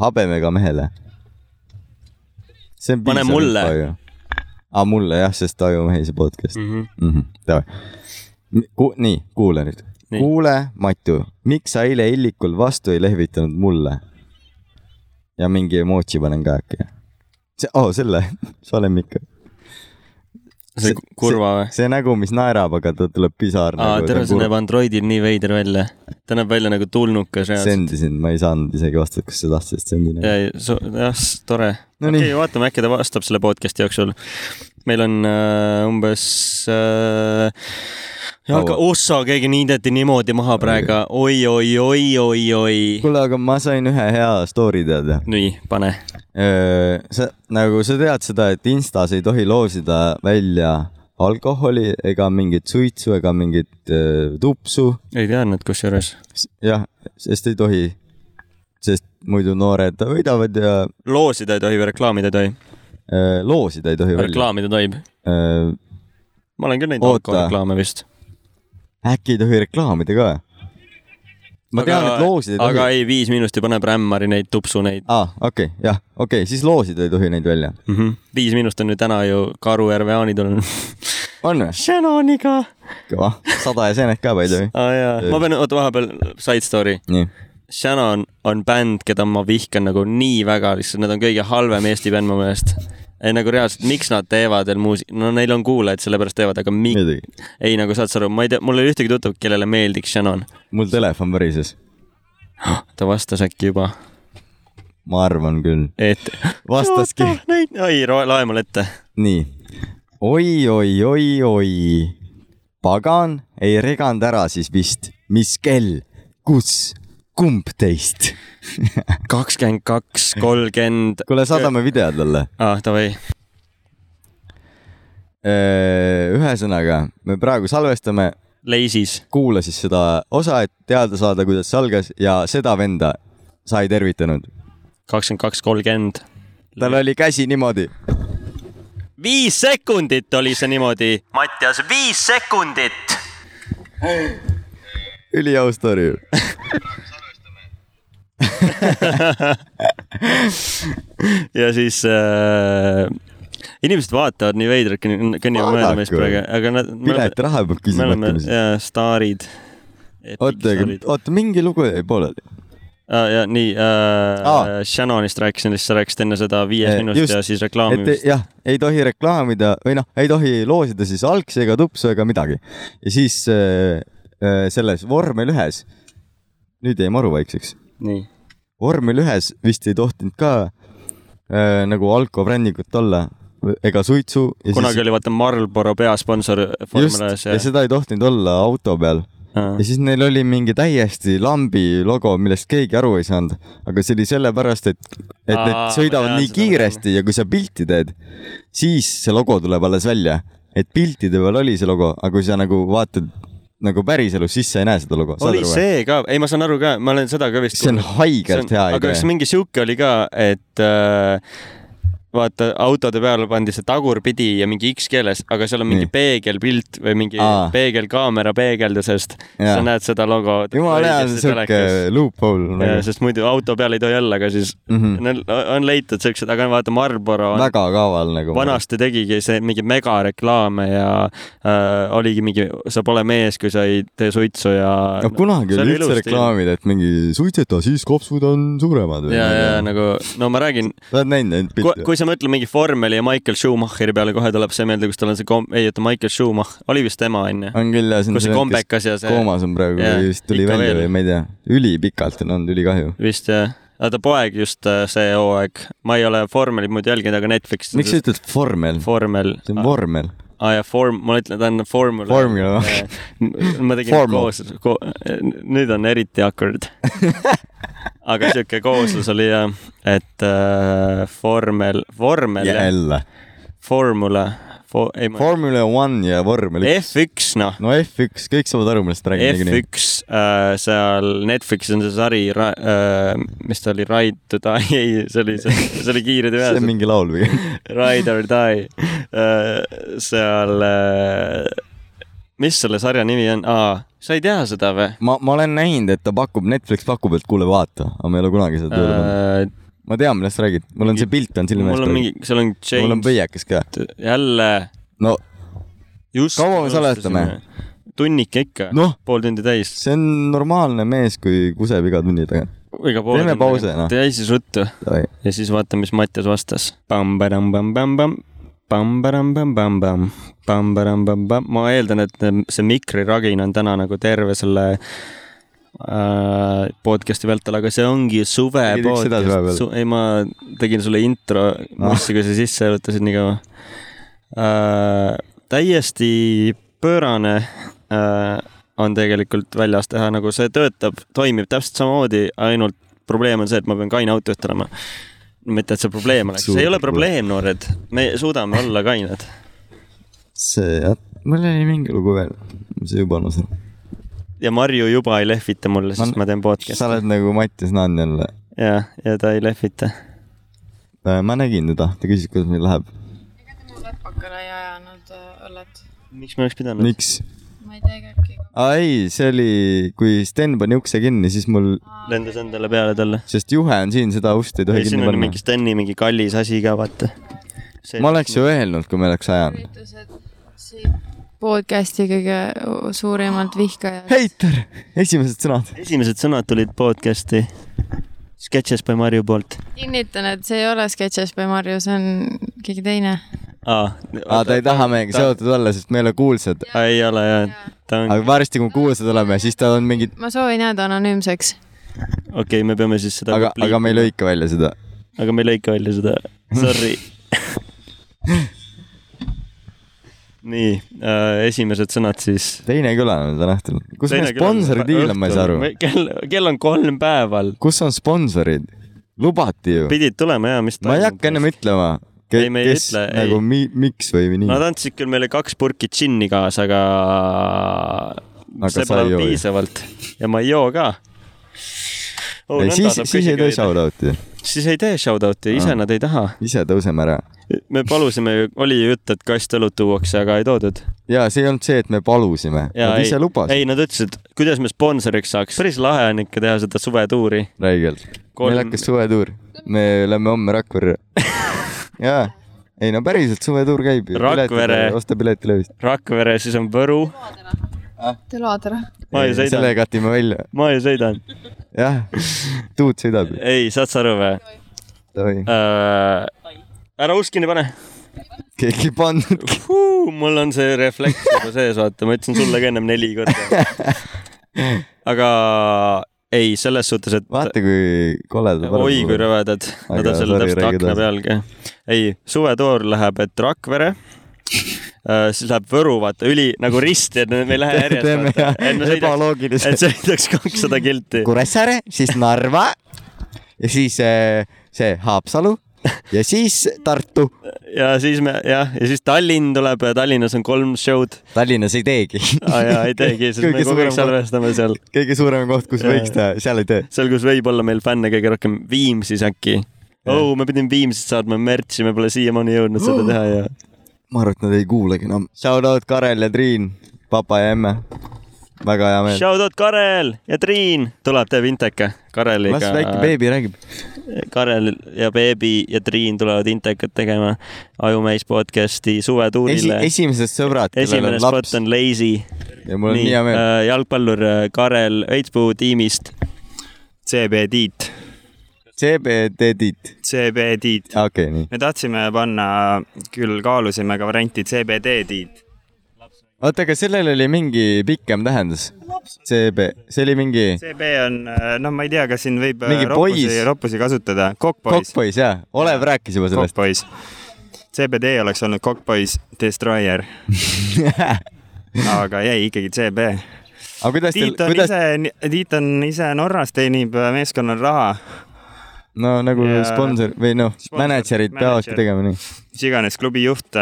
habemega mehele . see on
Pane
piisav
mulle.
info ju . aa , mulle jah , sest Taju Mehise podcast
Mhm.
mm . -hmm. Davai . Ku- , nii , kuule nüüd .
Nii.
kuule , Matju , miks sa eile Illikul vastu ei lehvitanud mulle ? ja mingi emotsi panen ka äkki . see , oo , selle , see olen ikka .
see
See-
kurva või ?
see nägu , mis naerab , aga tal tuleb pisar . nagu
aa , tere , see näeb Androidil nii veider välja . ta näeb välja nagu tulnukas reaalselt .
sendisin , ma ei saanud isegi vastata , kas sa tahtsid , et sendin . nagu-
ja , jah , tore .
No
okei
nii. ,
vaatame , äkki ta vastab selle podcast'i jooksul . meil on äh, umbes äh, . jalga , ossa , keegi niideti niimoodi maha praegu , oi , oi , oi , oi , oi .
kuule , aga ma sain ühe hea story teada .
nii , pane .
sa , nagu sa tead seda , et Instas ei tohi loosida välja alkoholi ega mingit suitsu ega mingit öö, tupsu .
ei teadnud kusjuures .
jah , sest ei tohi . sest muidu noored võidavad ja
loosida ei tohi või reklaamida ei tohi ?
öö, loosida ei tohi välja .
reklaamida tohib . ma olen küll näinud
Oota.
alkoholireklaame vist .
äkki ei tohi reklaamida ka ? ma tean , et loosida ei tohi .
aga ei , Viis Miinust ju paneb rämmari neid tupsuneid
aa , okei okay, , jah , okei okay, , siis loosida ei tohi neid välja .
mm . -hmm. Viis Miinust on ju täna ju Karujärve Jaanid olnud
on või ?
Shannoniga
kõva , sada ja seened ka või ei tohi ?
aa Ah, jaa , ma pean , oota vahepeal side story .
nii ,
Shannon on bänd , keda ma vihkan nagu nii väga , lihtsalt nad on kõige halvem Eesti bänd mu meelest . ei nagu reaalselt , miks nad teevad veel muusi- , no neil on kuulajad , sellepärast teevad , aga mi- ,
muidugi .
ei nagu saad sa aru , ma ei tea , mul ei ole ühtegi tuttavat , kellele meeldiks Shannon .
mul telefon värises ,
ta vastas äkki juba ,
ma arvan küll .
et .
Vastaski. .
ei , lae mulle ette .
nii oi, , oi-oi-oi-oi , pagan ei reganud ära siis vist , mis kell , kus , kumb teist ?
kakskümmend kaks , kolmkümmend ,
kuule , saadame video talle .
ah davai ,
Äh, ühesõnaga , me praegu salvestame ,
leisis .
kuula siis seda osa , et teada saada , kuidas see algas ja seda venda sa ei tervitanud .
kakskümmend kaks , kolmkümmend .
tal oli käsi niimoodi .
viis sekundit oli see niimoodi . Mattias , viis sekundit .
üliau story ju .
ja siis äh, inimesed vaatavad nii veidrad , kõnnivad mööda meist
Vaadaku.
praegu , aga nad .
piletiraha peab
me
küsima
oleme
mõtlemisel .
jaa , staarid .
oota , oota , mingi lugu jäi pooleli .
ah, . ja nii äh,
Aa.
ah. , Shannonist rääkisin , siis sa rääkisid enne seda viies
Eh,
minut
just.
ja siis
et
reklaamimist .
jah , ei tohi reklaamida või noh , ei tohi loosida siis algsi ega tupsu ega midagi . ja siis äh, äh, selles vormel ühes , nüüd jäi maru vaikseks ,
nii .
vormel ühes vist ei tohtinud ka äh, nagu alkobrändikut olla ega suitsu .
kunagi oli vaata Marlboro peasponsor
just ,
vormel ühes
ja seda ei tohtinud olla auto peal
Ah.
ja siis neil oli mingi täiesti lambi logo , millest keegi aru ei saanud , aga see oli sellepärast , et , et need
Aa, ma
sõidavad
tean
nii
seda
kiiresti ja kui sa pilti teed , siis see logo tuleb alles välja . et piltide peal oli see logo , aga kui sa nagu vaatad nagu päriselus , siis sa ei näe seda logo .
oli see ka , ei , ma saan aru ka , ma olen seda ka vist .
see on haigelt hea
aga kas
idee .
mingi sihuke oli ka , et äh, vaata autode peale pandi see tagurpidi ja mingi X keeles , aga seal on mingi
Nii.
peegelpilt või mingi
Aa.
peegelkaamera peegeldusest . sa
Jaa.
näed seda logo .
jumala hea , siuke loophole
Ja,
nagu. .
sest muidu auto peal ei tohi olla , aga siis mm
Mhm.
-hmm. on leitud siuksed , aga vaata Marlboro on,
väga kaval nagu .
vanasti tegigi see mingi megareklaame ja äh, oligi mingi , sa pole mees , kui sa ei tee suitsu ja
no kunagi
see
oli
oli
üldse
ilus
reklaamid , et mingi suitseta , siis kopsud on suuremad .
ja , ja . nagu no ma räägin ,
sa oled näinud neid
kui,
pilte ?
kui sa mõtled mingi vormeli ja Michael Schumacheri peale , kohe tuleb see meelde , kus tal on see kom- , ei oota , Michael Schumacher , oli vist tema onju ,
on küll jah .
kus see kombekas ja see
koomas on praegu
Jah,
või vist tuli
ikka
välja
veel.
või ma ei tea , ülipikalt on olnud , ülikahju .
vist jah , aga ta poeg just äh, see hooaeg , ma ei ole vormelit muidu jälginud , aga Netflixis
miks sa ütled vormel ?
vormel ,
see on vormel .
aa jaa , Ah, form , ma ütlen , ta on formula .
Formula. .
ma tegin
Formal.
koos ko, , nüüd on eriti awkward . aga sihuke kooslus oli jah , et äh, vormel , vormel yeah. ,
jälle .
formula for, , ei ma ,
Formula One ja vormel üks .
F1 noh .
no F1 , kõik saavad aru , millest ma räägin .
F1 äh, seal Netflixis on see sari äh, , mis ta oli , Ride to die , ei , see oli , see oli kiired ja
see on
vähesed .
mingi laul või ?
Ride or die Äh, seal , mis selle sarja nimi on , aa , sa ei tea seda või ?
ma , ma olen näinud , et ta pakub , Netflix pakub , et kuule , vaata , aga ma ei ole kunagi seda tööle pannud .
mul
ma tean , millest sa räägid , mul on see pilt on silme
Äh, on mingi
ees . ,
seal on
mul on
James ,
põiekas ka .
jälle ,
no
just .
Kaua me salvestame? ?
tunnik ikka
Noh.
pool tundi täis .
see on normaalne mees , kui kuseb iga tunni tagant .
iga pool
Teeme pause, noh.
täis ruttu ja siis vaatame , mis Mattias vastas . ma eeldan , et see mikriraginal on täna nagu terve selle äh, podcast'i vältel , aga see ongi suve
Tegid üks Ah. seda suve peal?
podcast . ei , ma tegin sulle intro no. , kui sa sisse jõudsid nii kaua äh, . täiesti pöörane äh, on tegelikult väljas teha , nagu see töötab , toimib täpselt samamoodi , ainult probleem on see , et ma pean kaine autojuht olema . mitte , et see probleem oleks , see ei
Suur
ole probleem , noored , me suudame olla kained .
see , mul oli mingi lugu veel , see juba unus ära .
ja Marju juba ei lehvita mulle , sest
Ma-
ma teen
sa
podcast'i .
oled nagu Mattias Naan jälle
ja , ja ta ei lehvita .
Äh, ma nägin teda , ta küsis , kuidas meil läheb .
ega te mu läpakale ei ajanud äh, õllet ?
miks me oleks pidanud ?
miks ?
ma ei tea , ega äkki .
aa ei , see oli , kui Sten pani ukse kinni , siis mul ,
lendas endale peale talle .
sest juhe on siin , seda ust ei tohi
ei , siin
kinni
on
panna
mingi . Steni mingi kallis asi ka , vaata .
ma oleks ju öelnud , kui me oleks ajanud .
üritused siin podcast'i kõige suurimalt vihkajad .
heiter , esimesed sõnad .
esimesed sõnad tulid podcast'i Sketches by Marju poolt .
kinnitan , et see ei ole Sketches by Marju , see on keegi teine .
aa
aa , ta ei taha meiega seotud olla , sest me ei ole kuulsad .
ta ei ole jah , ta on ,
aga varsti , kui me kuulsad oleme , siis tal on mingid ,
ma soovin jääda anonüümseks .
okei okay, , me peame siis seda .
aga , aga me ei . lõika välja seda .
aga me ei lõika välja seda , sorry . nii äh, , esimesed sõnad siis .
teine külaline täna õhtul . kus meil sponsoridiil on , ma ei saa aru .
kell , kell on kolm päeval ,
kus on sponsorid ? lubati ju .
pidid tulema ja mis .
ma ei hakka ennem ütlema ,
Ei, me ei
kes
ütle, ei.
nagu mi, miks või nii
Nad andsid küll meile kaks purki džinni kaasa , aga,
Aga
see
sa
pole
ei joo ju.
piisavalt ja ma ei joo ka oh,
ei , siis , siis ei tee . Ah. shout-out'i ,
siis ei tee shout-out'i , ise
Aa.
nad ei taha .
ise tõuseme ära .
me palusime , oli ju jutt , et kast õlut tuuakse , aga ei toodud .
ja see ei olnud see , et me palusime ,
Jaa,
nad ise lubasid
ei , nad ütlesid , kuidas me sponsoriks saaks . päris lahe on ikka teha seda suvetuuri .
räigelt .
Kolm-
meil hakkas suvetuur , me lähme homme Rakverre . jaa , ei no päriselt suvetuur käib ju .
Rakvere.
osta piletilevis .
Rakvere , siis on Võru .
Te lood ära .
ma ju
selle
sõidan ,
katime välja ,
ma ju sõidan .
jah . tuut sõidab ,
ei , saad sa aru või ?
tohi ,
Äh. ära uskini pane
keegi ei pannudki .
Huu, mul on see refleks juba sees , vaata , ma ütlesin sulle ka ennem neli korda . aga ei , selles suhtes , et
vaata , kui koledad
oi kui . rõvedad , nad
Aga
on selle
sorry,
täpselt
räägi
akna
edasi.
peal ka . ei , suvetoor läheb , et Rakvere , siis läheb Võru , vaata üli nagu risti , et me ei lähe
teeme
järjest ,
jah
et me , sõidaks ,
ebaloogiliselt
et . sõidaks kakssada kilti .
Kuressaare , siis Narva ja siis äh, see Haapsalu ja siis Tartu .
ja siis me jah , ja siis Tallinn tuleb ja Tallinnas on kolm show'd .
Tallinnas ei teegi .
aa jaa , ei teegi , sest me
Kõige
kogu aeg
suurem koht.
salvestame seal ,
kõige suurem koht , kus
Jaa.
võiks teha , seal ei tee .
seal , kus võib olla meil fänne kõige rohkem , Viimsis äkki . oo , me pidime Viimsist saatma märtsi , me pole siiamaani jõudnud seda
Uh.
teha ja
ma arvan , et nad ei kuulagi enam . Shout out Karel ja Triin , papa ja emme . väga hea meel .
Shout out Karel ja Triin , tuleb teeb Inteka , Kareliga .
las väike beebi räägib .
Karel ja Beebi ja Triin tulevad Intekat tegema Ajumäis podcasti
Esi,
suvetuurile .
esimesed sõbrad , kellel
esimene
on
spot
laps
on Lazy .
ja mul on nii hea meel .
jalgpallur äh, Karel Õitspuu tiimist . CB Tiit .
CB Tedit ,
CB Tiit .
okei okay, , nii .
me tahtsime panna , küll kaalusime ka varianti CBD Tiit .
oota , aga sellel oli mingi pikem tähendus . CB , see oli mingi
CB on , noh , ma ei tea , kas siin võib
Mingi
roppusi
poiss. ,
roppusi kasutada , kokkpoiss ,
kokkpoiss jaa , Olev rääkis juba sellest .
kokkpoiss . CBD oleks olnud kokkpoiss Destroyer aga jäi ikkagi CB .
aga kuidas teil ,
Tiit on
kuidas ,
ise , Tiit on ise Norras , teenib äh, meeskonnal raha ,
no nagu
Ja-
sponsor või noh ,
Sponsor-
mänedžerid peavadki
mänedžer.
tegema nii .
mis iganes klubi juht ,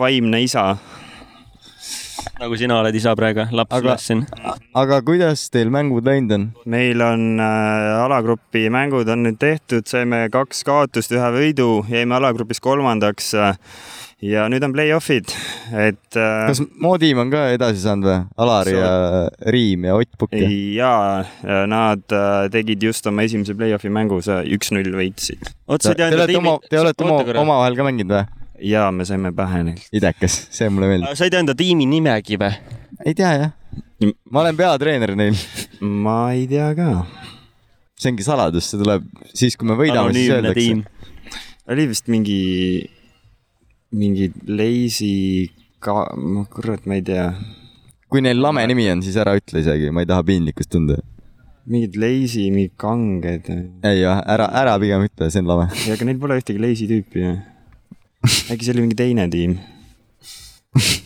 vaimne isa .
nagu sina oled isa praegu , laps Aga...
Aga-
üles siin .
aga kuidas teil mängud läinud on ?
meil on äh, alagrupi mängud on nüüd tehtud , saime kaks kaotust , ühe võidu , jäime alagrupis kolmandaks äh, ja nüüd on play-off'id , et äh,
kas Modim on ka edasi saanud või ? Alar
Sa-
ja Riim ja Ott Pukk ja ?
ja nad äh, tegid just oma esimese play-off'i mängus üks-null võitsid
oot , sa
Te
ei teadnud
olete oma , te olete oma ,
tiimi ,
omavahel ka mänginud või ?
ja me saime pähe neilt .
idekas , see mulle meeldib .
sa ei teadnud tiimi nimegi või ?
ei tea jah . ma olen peatreener neil .
ma ei tea ka ,
see ongi saladus , see tuleb siis , kui me võidame , siis
anonüümne
öeldakse
tiim .
oli vist mingi , mingi Lazy ka , ma kurat , ma ei tea ,
kui neil lame nimi on , siis ära ütle isegi , ma ei taha piinlikkust tunda .
mingid Lazy , mingid kanged
ei , ära , ära pigem ütle , see on lame .
ja ega neil pole ühtegi Lazy tüüpi ju . äkki see oli mingi teine tiim ?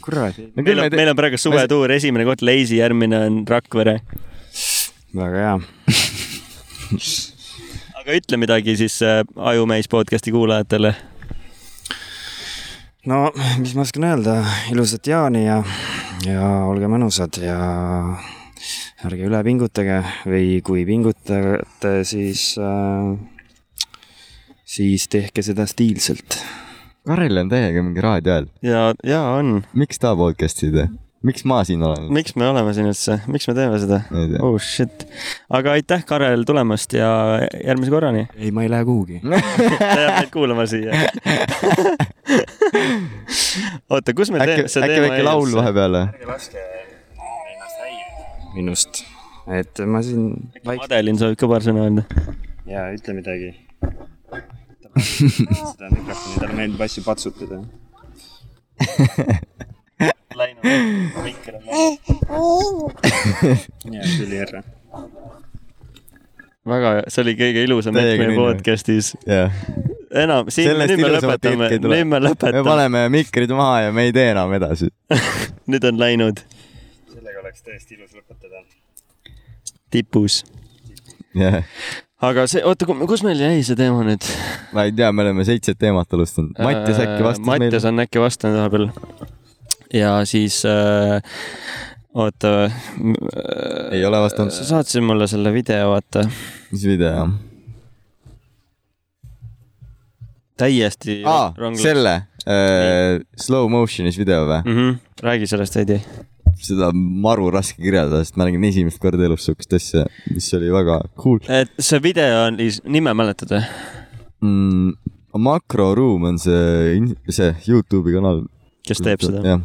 kurat ,
meil on , meil on praegu suvetuur , esimene koht Lazy , järgmine on Rakvere .
väga hea .
aga ütle midagi siis äh, Ajumäis podcasti kuulajatele .
no mis ma oskan öelda , ilusat jaani ja , ja olge mõnusad ja ärge üle pingutage või kui pingutate , siis äh, , siis tehke seda stiilselt .
Karel on täiega mingi raadio hääl .
ja , ja on .
miks ta podcast'i ei tee ? miks ma siin olen ?
miks me oleme siin üldse , miks me teeme seda ?
ei tea .
oh shit . aga aitäh , Karel , tulemast ja järgmise korrani .
ei , ma ei lähe kuhugi .
sa jääd meid kuulama siia . oota , kus me
äkki ,
teeme ,
äkki väike laul ? vahepeal või ?
minust , et ma siin vaikselt
Adelin soovib ka paar sõna öelda .
ja ütle midagi . seda mikrofoni , talle meeldib asju patsutada . ja , tuli ära .
väga , see oli kõige ilusam hetk
Täiega
meie
nii, jah.
podcast'is .
jah ,
enam , siin ,
Sellest
nüüd me
ilusamat
lõpetame ,
hetke ei tule.
nüüd me
me
lõpetame ,
paneme mikrid maha ja me ei tee enam edasi .
nüüd on läinud
sellega oleks täiesti ilus lõpetada .
tipus .
ma
aga see , oota , kus meil jäi see teema nüüd ?
ei tea , me oleme seitse teemat alustanud . Mattias äkki vastas
Äh, Mattias
meile .
on äkki vastanud vahepeal . ja siis äh, , oota äh, .
Ei ole vastanud.
sa saatsid mulle selle video , vaata ,
mis video ?
täiesti
aa , selle äh, slow motion'is video või ?
mm . -hmm. räägi sellest veidi .
seda on maru raske kirjeldada , sest ma nägin esimest korda elus siukest asja , mis oli väga cool
et see video on , nime mäletad või ?
mm, . makroruum on see , see Youtube'i kanal .
kes teeb seda ?
jah ,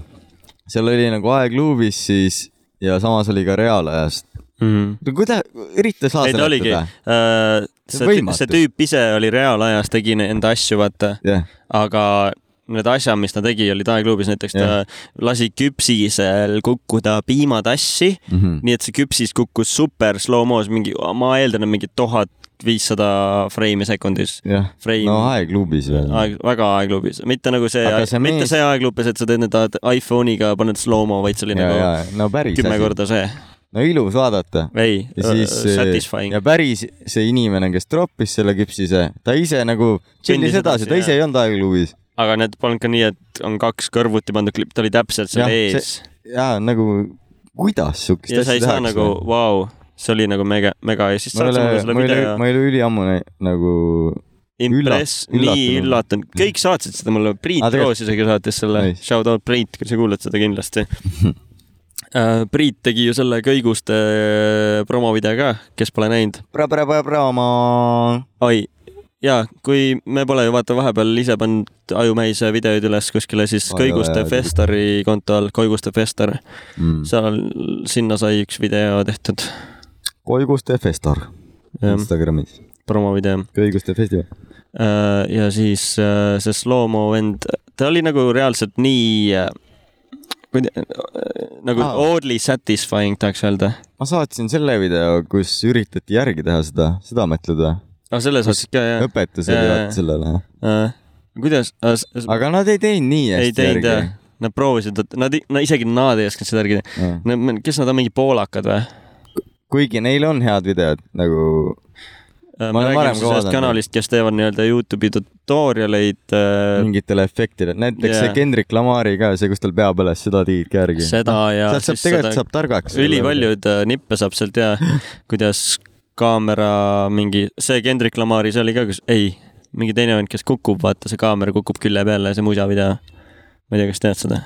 seal oli nagu aegluubis siis ja samas oli ka reaalajas .
Mm.
kuidas , ürita saa
ei , ta oligi
seletada
äh, ., see,
võimatu.
see tüüp ise oli reaalajas , tegi ne- enda asju , vaata ,
jah ,
aga need asjad , mis ta tegi , olid aegluubis , näiteks ta lasi küpsisel kukkuda piimatassi ,
Mhm.
nii et see küpsis kukkus super slow-mo's mingi , ma eeldan , et mingi tuhat viissada freimi sekundis .
jah ,
Frame
no aegluubis veel .
aeg , väga aegluubis , mitte nagu see
Aga see ,
mitte
mees-
see aegluubis , et sa teed nüüd iPhone'iga , paned slow-mo , vaid see oli
ja , ja
nagu ,
no päris
kümme . korda see ,
no ilus vaadata .
ei ,
ja siis äh,
satisfying
ja . päris see inimene , kes troppis selle küpsise , ta ise nagu tšillis
Kõndis
edasi ,
edasi,
ta ise
jah.
ei olnud aegluubis .
aga need polnud ka nii , et on kaks kõrvuti pandud klipp , ta oli täpselt seal
Jah, see-
ees see...
jaa , nagu kuidas siukest
ja sa
asja
ei saa
tehakse
nagu , vau , see oli nagu mega , mega ja siis
ma ei
saad
ole
sa mulle , selle
ma ei ole
video ,
ma ei ole üliammu nä- nagu ,
impress ,
üllat-
nii
üllatunud.
üllatunud , kõik saatsid seda mulle , Priit
Aa,
ah,
Mm. tegelikult-
Roos isegi saatis selle
Nice.
nice. , shout out Priit , kui sa kuulad seda kindlasti Äh, Priit tegi ju selle kõiguste äh, promovideo ka , kes pole näinud .
pra-pra-pra-pra-ma .
oi , ja kui me pole ju vaata vahepeal ise pannud Ajumäise videoid üles kuskile , siis
Oi,
Kõiguste
ole-
Festari konto all , Koiguste Fester ,
Hmm.
seal , sinna sai üks video tehtud ,
koiguste festar Instagramis ,
promovideo .
kõiguste festival .
ja siis äh, see slow-mo vend , ta oli nagu reaalselt nii äh, kui te- äh, nagu
Aa.
oddly satisfying tahaks öelda .
ma saatsin selle video , kus üritati järgi teha seda , seda mõtled või ?
aga selle saatsid ka jah
õpetus
Jaa,
oli
jaa,
vaata sellele ,
äh, ? kuidas äh, ?
aga nad ei teinud nii
ei
hästi
teinud
järgi
jah . Nad proovisid , nad , no isegi nad ei osanud seda järgi teha .
jah .
kes nad on , mingid poolakad või ?
kuigi neil on head videod nagu ,
ma räägin
olen varem ka
Äh, sellest
vaadanud.
kanalist , kes teevad nii-öelda Youtube'i tutorialeid . äh,
mingitele efektile , näiteks
jaa.
see Kendrick Lamari ka , see , kus tal pea põles , seda tegid ka järgi .
seda ja
sealt saab , tegelikult saab targaks .
ülipaljud äh, nippe saab sealt ja kuidas kaamera mingi , see Kendrick Lamari , see oli ka , kus , ei , mingi teine vend , kes kukub , vaata see kaamera kukub külje peale , see musavideo . ma ei tea , kas tead seda ?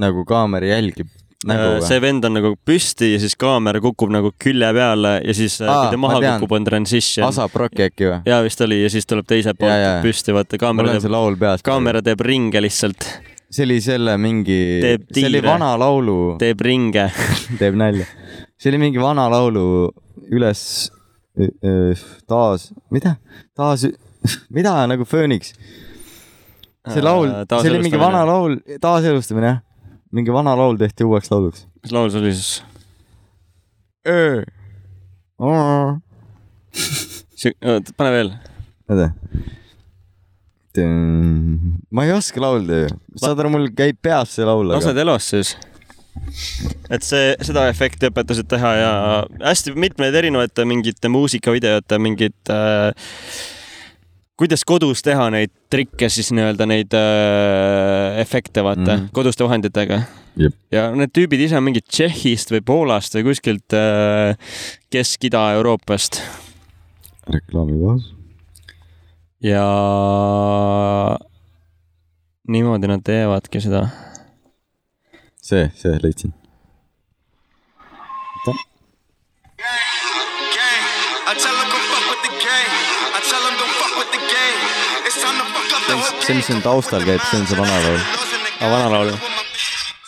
nagu kaamera jälgib nägu või ?
see vend on nagu püsti ja siis kaamera kukub nagu külje peale ja siis ,
Aa,
kui ta
ma
maha
tean.
kukub , on transition .
Asaproki äkki või ?
ja vist oli ja siis tuleb teiselt poolt
Jaa, jaa.
püsti , vaata
mul
kaamera
on see
teeb ,
laul peas .
kaamera teeb ringe lihtsalt ,
see oli selle mingi ,
Teeb
see oli
tiire.
vana laulu ,
teeb ringe .
teeb nalja . see oli mingi vana laulu üles , taas , mida , taas , mida nagu Phoenix . see laul , see oli mingi vana . laul , taaselustamine jah . mingi vana laul tehti uueks lauluks .
mis laul see oli siis ?
näete ?
pane veel .
ma ei oska laulda ju , saad aru , mul käib peas see laul ,
lased
aga
elos siis . et see , seda efekti õpetasid teha ja hästi mitmeid erinevate mingite muusikavideote mingid äh, kuidas kodus teha neid trikke siis nii-öelda neid äh, efekte vaata mm
Mhm.
-hmm. koduste vahenditega
Jep. .
ja need tüübid ise on mingid Tšehhist või Poolast või kuskilt äh, Kesk-Ida-Euroopast
reklaami kohas .
ja niimoodi nad teevadki seda
see , see leidsin .
gang. I tell them come fuck with the gang. I tell them don't fuck with the gang. It's time to fuck up the whole
see , mis siin taustal käib , see on see vana laul .
aga vana laul , Ah,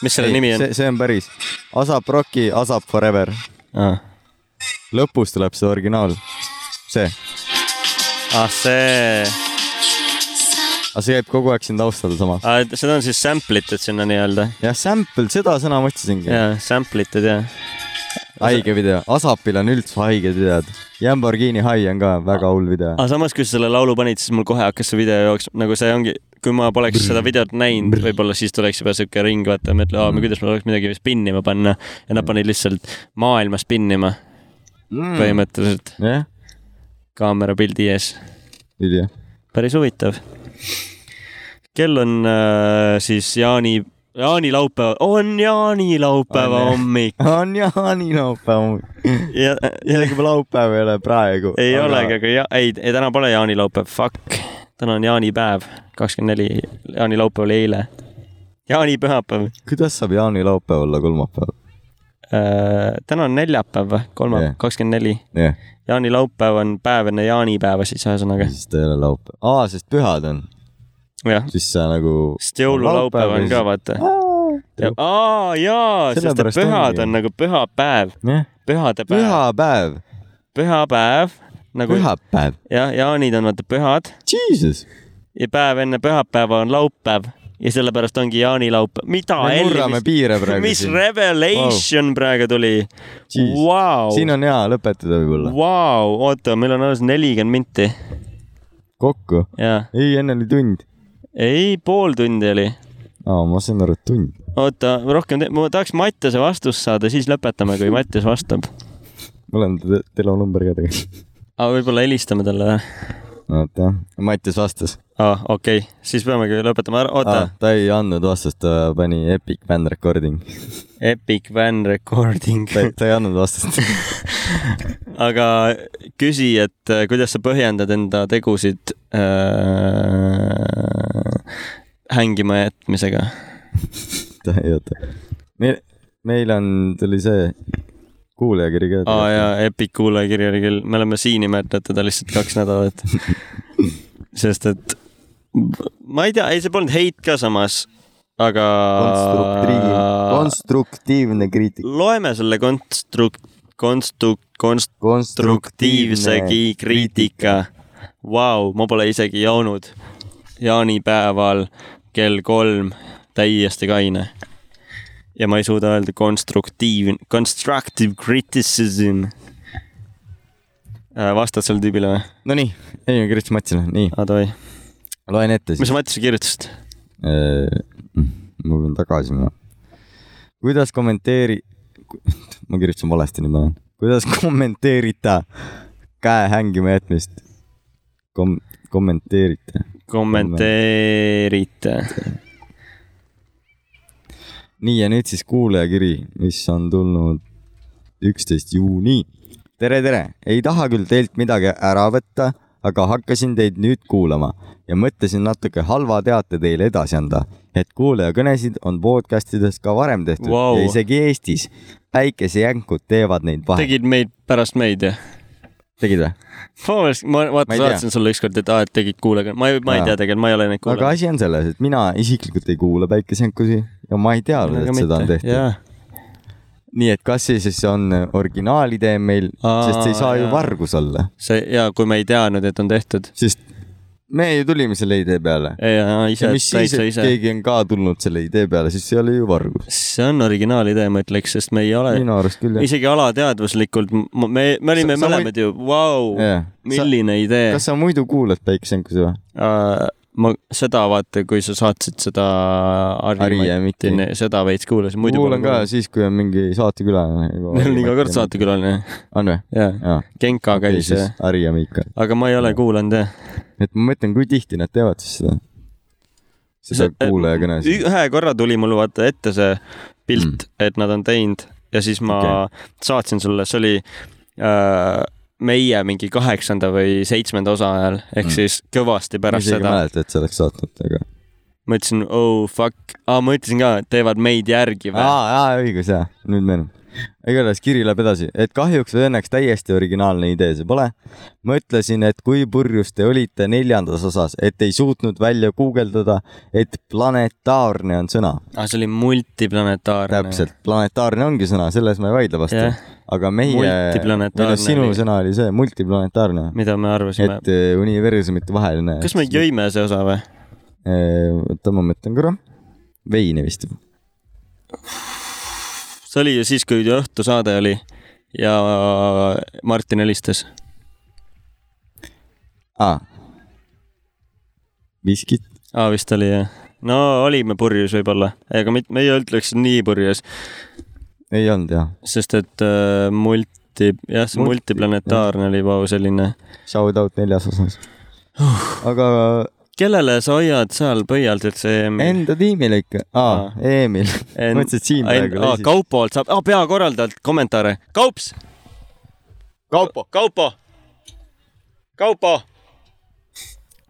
mis selle nimi on
see ,? see on päris . Asap Rocki , Asap Forever .
Ah.
lõpus tuleb see originaal . see ,
ah see ,
aga see käib kogu aeg siin taustal samas .
Ah, seda on siis sample itud sinna nii-öelda .
jah , sample , seda sõna ma otsisingi .
jaa , sample itud jaa .
haige video , Asapil on üldse haiged videod . Lamborghini High on ka väga hull video .
aga Ah, samas , kui sa selle laulu panid , siis mul kohe hakkas see video jooksma , nagu see ongi , kui ma poleks seda videot näinud , võib-olla siis tuleks juba siuke ring , vaata , mõtle ,
Mm.
aa , kuidas ma tuleks midagi spinnima panna ja nad panid lihtsalt maailma spinnima Mm.
Mm.
põhimõtteliselt
jah ,
kaamera pildi ees .
video .
päris huvitav . kell on äh, siis jaani , jaanilaupäeva , on jaanilaupäeva
On, jah.
hommik
on jaanilaupäev ,
ja , ja
isegi laupäev ei ole praegu .
ei olegi , aga ja, ei , ei täna pole jaanilaupäev , fuck . täna on jaanipäev , kakskümmend neli , jaanilaupäev oli eile . jaanipühapäev
kuidas saab jaanilaupäev olla kolmapäev ?
äh, . täna on neljapäev või , kolmapäev
Jah. ,
kakskümmend neli .
jah ,
jaanilaupäev on päev enne jaanipäeva siis ühesõnaga ,
siis ta ei ole laupäev . aa , sest pühad on ,
jah .
siis sa nagu .
sest jõululaupäev on ka , vaata . aa jaa , sest et
Sellepärast
pühad
ongi.
on nagu pühapäev ,
jah ,
pühade päev ,
pühapäev ,
pühapäev nagu
pühapäev ,
jah , jaanid on vaata pühad
jesus .
ja päev enne pühapäeva on laupäev ja sellepärast ongi jaanilaupäev . mida
me murrame
Elvis ,
piire praegu
mis
siin .
revelation wow. praegu tuli ?
Jeez.
Vau ,
siin on hea lõpetada võib-olla ,
vau , oota , meil on alles nelikümmend minti
kokku .
ja
ei , enne oli tund .
ei , pool tundi oli .
aa , ma sain aru , et tund .
oota , rohkem , ma tahaks Mattiase vastust saada , siis lõpetame , kui Mattias vastab .
mul on te- telonumber ka tegelikult .
aga võib-olla helistame talle või ?
oota , Mattias vastas .
aa , okei okay. , siis peamegi lõpetama ära , oota
Ah, . ta ei andnud vastust , ta pani Epic Band Recording .
Epic Van Recording .
ta ei- ta ei andnud vastust .
aga küsi , et äh, kuidas sa põhjendad enda tegusid äh, hängima jätmisega ?
ta ei oota . meil , meil on , tuli see kuulajakiri ka .
aa jaa , Epic kuulajakiri oli küll , me oleme siin nimetanud teda lihtsalt kaks nädalat . sest et ma ei tea , ei see polnud heit ka samas , aga .
konstruktiivne , konstruktiivne kriitik .
loeme selle konstruk- , konstru- , konst- , konstruktiivsegi kriitika . Vau , ma pole isegi joonud jaanipäeval kell kolm , täiesti kaine . ja ma ei suuda öelda konstruktiivne , constructive criticism . vastad sellele tüübile või ?
Nonii , ei ma kirjutasin Matsile , nii ,
aa davai ,
loen ette
mis
siis
sa . Matisse kirjutasid ?
Äh, ma pean tagasi minema . kuidas kommenteeri- , ma kirjutasin valesti , nüüd ma olen . kuidas kommenteerida käe hängima jätmist ? Kom- , kommenteerite .
kommenteerite .
nii ja nüüd siis kuulajakiri , mis on tulnud üksteist juuni . tere , tere , ei taha küll teilt midagi ära võtta , aga hakkasin teid nüüd kuulama ja mõtlesin natuke halva teate teile edasi anda , et kuulajakõnesid on podcast ides ka varem tehtud
Vau.
ja isegi Eestis . päikesejänkud teevad neid vahet .
tegid meid pärast meid jah ?
tegid või ?
ma meelest , ma
Ma
vaata
ei tea.
saatsin sulle ükskord , et aa , et tegid kuulaja , ma ei , ma ei
Aa.
tea tegelikult , ma ei ole neid
aga
kuulanud .
asi on selles , et mina isiklikult ei kuula päikesejänkusi ja ma ei teadnud , et seda on tehtud . nii et kas see siis on originaalidee meil ,
Aa,
sest see ei saa ju
jaa.
vargus olla
see ja kui me ei teadnud , et on tehtud .
sest me ju tulime selle idee peale .
ja ise
ja , mis siis ,
täitsa
et
ise .
keegi on ka tulnud selle idee peale , siis see oli ju vargus .
see on originaalidee , ma ütleks , sest me ei ole
minu arust küll jah .
isegi alateadvuslikult , me , me olime
Sa- sa
mõlemad ju , vau ,
jah .
milline idee .
kas sa muidu kuulad päikesenkusi või ?
ma seda vaata , kui sa saatsid seda
Ari ja Miki.
Matti- seda veits kuulasin , muidu .
kuulan ka . siis , kui on mingi saatekülaline .
meil on iga kord . saatekülaline ,
on või ?
jaa ,
jaa .
Genka käis ja ,
Harri ja Miika .
aga ma ei ole kuulanud jah .
et ma mõtlen , kui tihti nad teevad siis seda , seda
See-
kuulajakõnesid .
Äh, ühe korra tuli mul vaata ette see pilt mm. , et nad on teinud ja siis ma okay. saatsin sulle , see oli äh, meie mingi kaheksanda või seitsmenda osa ajal , ehk mm. siis kõvasti
ma
pärast
isegi ei
seda .
mäleta , et sa oleks saatnud , aga .
ma ütlesin oh fuck , aa ma ütlesin ka , et teevad meid järgi või ?
aa , aa õigus jah , nüüd meenub . igatahes kiri läheb edasi , et kahjuks või õnneks täiesti originaalne idee see pole . mõtlesin , et kui purjus te olite neljandas osas , et ei suutnud välja guugeldada , et planetaarne on sõna .
aa , Ah, see oli multiplanetaarne .
täpselt , planetaarne ongi sõna , selles ma ei vaidle vastu
Jah. .
aga meie ,
Multiplanetaarne
minu sinu
oli.
sõna oli see multiplanetaarne ,
mida me arvasime et... .
et eh, universumite vaheline .
kas me ? jõime see osa või ?
oota , ma mõtlen korra . veini vist .
see oli ju siis , kui õhtusaade oli . ja Martin helistas .
aa . miskit ?
aa , vist oli jah . no olime purjus võib-olla , ega mitte , me ei ütleks nii purjus ,
ei olnud jah .
sest et äh, multi , jah , see
Multi-
multiplanetaarne oli vau selline .
Shout out neljas osas . aga
kellele sa hoiad seal pöialt üldse EM-i ?
enda tiimile ikka , aa
Aa. ,
Emil , mõtlesin , et siin praegu leisid .
Kaupo alt saab , peakorraldajalt kommentaare . Kaups . Kaupo . Kaupo . Kaupo .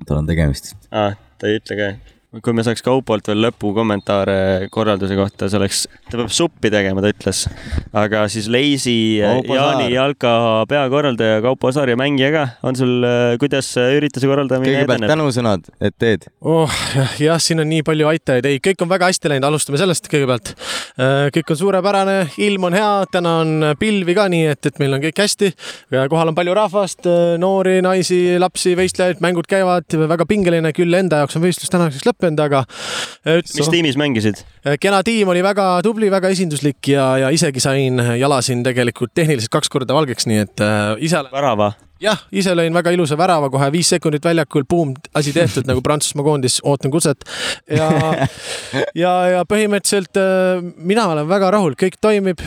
tal on tegemist .
ah, . ta ei ütle ka . kui me saaks Kaupolt veel lõpukommentaare korralduse kohta , see oleks , ta peab suppi tegema , ta ütles . aga siis Leisi ,
Kaupo
Jaani
Saar.
Jalka peakorraldaja , Kaupo Saar ja mängija ka , on sul , kuidas äh, ürituse korraldamine
kõigepealt
edeneb ?
tänusõnad , et teed .
oh, . jah , siin on nii palju aitajaid , ei , kõik on väga hästi läinud , alustame sellest kõigepealt . kõik on suurepärane , ilm on hea , täna on pilvi ka , nii et , et meil on kõik hästi . kohal on palju rahvast , noori , naisi , lapsi , võistlejaid , mängud käivad , väga pingeline küll , enda jaoks on võistlus tänaseks lõppenud , aga .
mis tiimis mängisid ?
kena tiim oli väga tubli , väga esinduslik ja , ja isegi sain jala siin tegelikult tehniliselt kaks korda valgeks , nii et äh, ise olen
värava ?
jah , ise lõin väga ilusa värava kohe viis sekundit väljakul , buum , asi tehtud nagu Prantsusmaa koondis , ootan kutset . ja , ja , ja põhimõtteliselt äh, mina olen väga rahul , kõik toimib .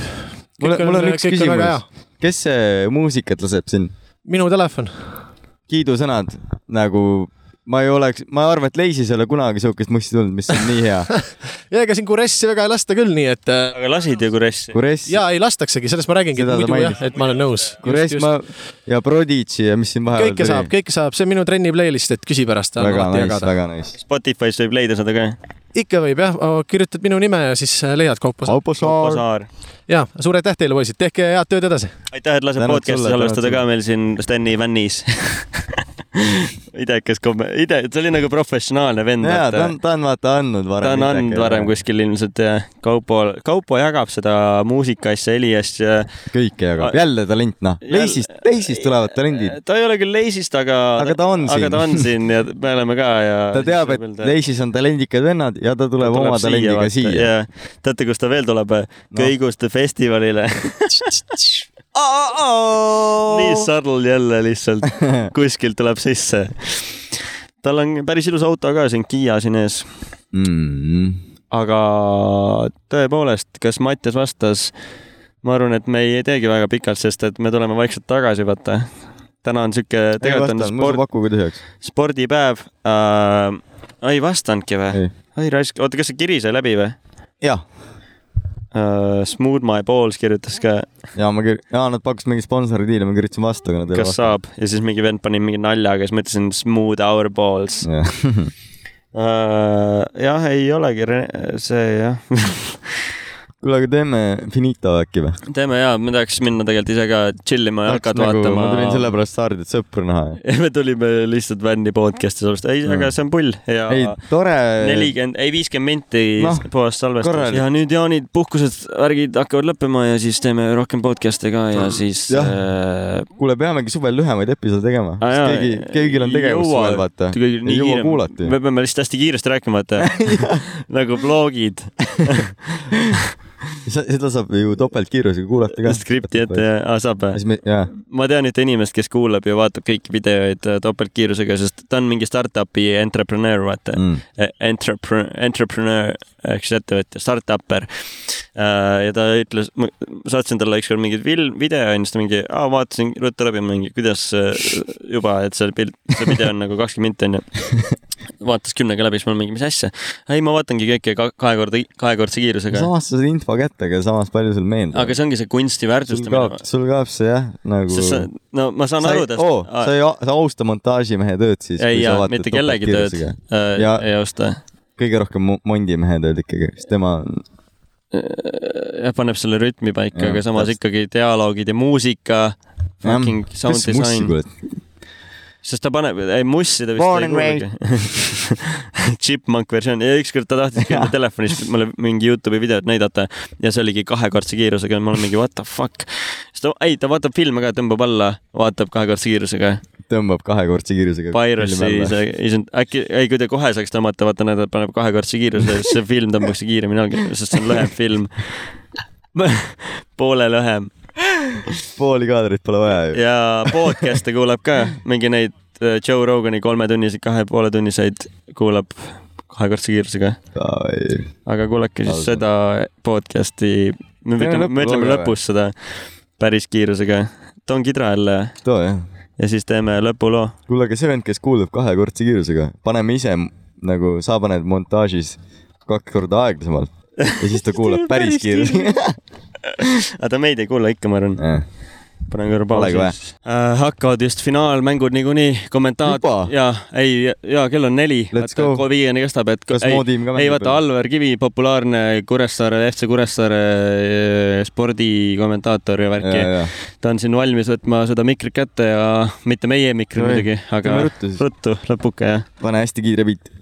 mul , mul on üks küsimus . kes see muusikat laseb siin ?
minu telefon .
kiidusõnad nagu ma ei oleks , ma arvan , et Leisis ei ole kunagi siukest musti tulnud , mis on nii hea .
ja ega siin Kuressi väga ei lasta küll , nii et äh,
aga lasid ju Kuressi ?
Kuress ,
ja ei lastaksegi , sellest ma räägingi ,
Seda
et
ta
muidu jah
mainis. ,
et ma olen nõus .
Kuress ma ja Prodigy ja mis siin vahepeal
kõike saab ,. kõike saab , see on minu trenni playlist , et küsi pärast .
väga nice , väga nice .
Spotify's võib leida seda ka .
ikka võib jah , kirjutad minu nime ja siis äh, leiad kaupa .
Kaupo
Kaupo
Saar ,
Saar .
ja suur aitäh teile , poisid , tehke head tööd edasi .
aitäh , et lased
Tänud
podcast'i
sulle,
salvestada
tänud
ka meil siin Steni fännis . idekas komme- , ide- , see oli nagu professionaalne vend .
jaa , ta on , ta on vaata andnud varem .
ta on andnud varem . kuskil ilmselt ja Kaupo , Kaupo jagab seda muusika asja , heli asja .
kõike jagab , jälle talent noh ,
Ah, Jälle-
Leisist , Leisist tulevad talendid .
ta ei ole küll leisist , aga .
Aga ta on
aga
siin.
ta on siin ja me oleme ka ja .
ta teab , et Leisis on talendikad vennad ja ta tuleb oma talendiga siia .
teate , kus ta veel tuleb no. ? kõiguste festivalile . nii
Oh.
sadl jälle lihtsalt kuskilt tuleb sisse . tal on päris ilus auto ka siin , Kiia siin ees ,
Mhm.
aga tõepoolest , kas Mattias vastas ? ma arvan , et me ei teegi väga pikalt , sest et me tuleme vaikselt tagasi , vaata . täna on sihuke , tegelikult on
mul
sport ,
pakkuge tühjaks .
spordipäev äh, . ei vastanudki või
Ei. ?
ai raisk , oota , kas see kiri sai läbi või
jah ,
uh, ? Smooth My Balls kirjutas ka ,
ja ma kir- , ja nad pakkusid mingi sponsori diili , ma kirjutasin vastu , aga nad ei
kas saab ja siis mingi vend pani mingi naljaga , siis ma ütlesin Smooth Our Balls uh, .
saab .
jah , ei olegi re- see jah .
kuule , aga teeme Finito äkki või ?
teeme jaa , me tahaks minna tegelikult ise ka chill ima ja hakata vaatama .
nagu, ma tulin sellepärast Saarde , et sõpru näha .
me tulime lihtsalt vänni podcast'i sellest , ei , aga see on pull ja
Mm. ei , tore .
nelikümmend , ei viiskümmend minti
Noh,
puhast salvestust
korralik.
ja nüüd jaanid , puhkused , värgid hakkavad lõppema ja siis teeme rohkem podcast'e ka ja siis
Jah.
äh,
kuule , peamegi suvel lühemaid episoode tegema .
Aa, Ah, jaa, äh,
keegi , kõigil on tegevus
jõua-
suvel , vaata .
kõigil nii
ei jõua
kiire-
kuulata ju
me . peame lihtsalt hästi kiiresti rääkima , et nagu blogid ,
seda saab ju topeltkiirusega kuulata ka .
skripti ette ja ah, saab või ?
siis me , jaa ,
ma tean ühte inimest , kes kuulab ja vaatab kõiki videoid äh, topeltkiirusega , sest ta on mingi startup'i entrepreneur , vaata
Mm.
mm. . Entrepreneur , entrepreneur ehk siis ettevõtja , startupper . ja ta ütles , ma saatsin talle ükskord mingi film , video ja siis ta mingi , aa vaatasin ruttu läbi mingi , kuidas äh, juba , et see pilt , see video on nagu kakskümmend minti onju . vaatas kümnega läbi , siis ma olen mingi , mis asja . ei , ma vaatangi kõike ka- kahe korda , kahekordse kiirusega .
samas sa saad info kätte , aga samas palju sul meeldib .
aga see ongi see kunsti
sul kaob
väärtustamine ,.
sul kaob see jah , nagu .
sest sa , no ma saan aru tast
oo , sa ei , sa austa montaažimehe tööd siis .
ei , jaa , mitte kellegi tööd äh,
Ja-
ei osta . Äh,
kõige rohkem mo- mondimehe tööd ikkagi , sest tema on ,
jah , paneb selle rütmi paika ,
Jah,
aga samas
täpselt.
ikkagi dialoogid ja muusika , fucking sound
kes mussi
design ,
kuuled ?
sest ta paneb , ei mussi ta vist
Born
ei
and
kuulegi . Chipmunk versioon ja ükskord ta tahtis küll telefonis mulle mingi Youtube'i videot näidata ja see oligi kahekordse kiirusega ja ma olen mingi what the fuck . siis ta , ei , ta vaatab filme ka , tõmbab alla , vaatab kahekordse kiirusega .
tõmbab kahekordse kiirusega .
Piracy , see isend , äkki , ei kui ta kohe saaks tõmmata , vaata näed , et paneb kahekordse kiiruse , siis see film tõmbaks kiiremini algi , sest see on lühem film . poole lühem .
pooli kaadrit pole vaja ju .
ja podcast'e kuulab ka , mingi neid äh, Joe Rogani kolmetunniseid , kahe ja poole tunniseid kuulab kahekordse kiirusega , aga kuulake siis
Lausa.
seda podcast'i , me
Teeme
ütleme ,
lõppu
me ütleme
looga
lõpus seda päris kiirusega . Tom Kidra jälle
too jah .
ja siis teeme lõpuloo .
kuule , aga see vend , kes kuulab kahekordse kiirusega , paneme ise m- nagu sa paned montaažis kaks korda aeglasemalt ja siis ta kuulab päris kiirusega .
aga ta meid ei kuula ikka , ma arvan . panen korra
Polegi
pausi Äh,
vaja. .
hakkavad just finaalmängud niikuinii , kommentaat
Juba?
ja ei ja kell on neli .
Let's go.
viieni kestab , et
Kas
ei
Mo tiim ka mängib
ei vaata ,
veel?
Alvar Kivi , populaarne Kuressaare , FC Kuressaare eh, spordikommentaator ja värki . ta on siin valmis võtma seda mikrit kätte ja mitte meie mikri
No ei,
muidugi , aga
teeme ruttu siis.
ruttu , lõpuke ja
pane hästi kiire beat ,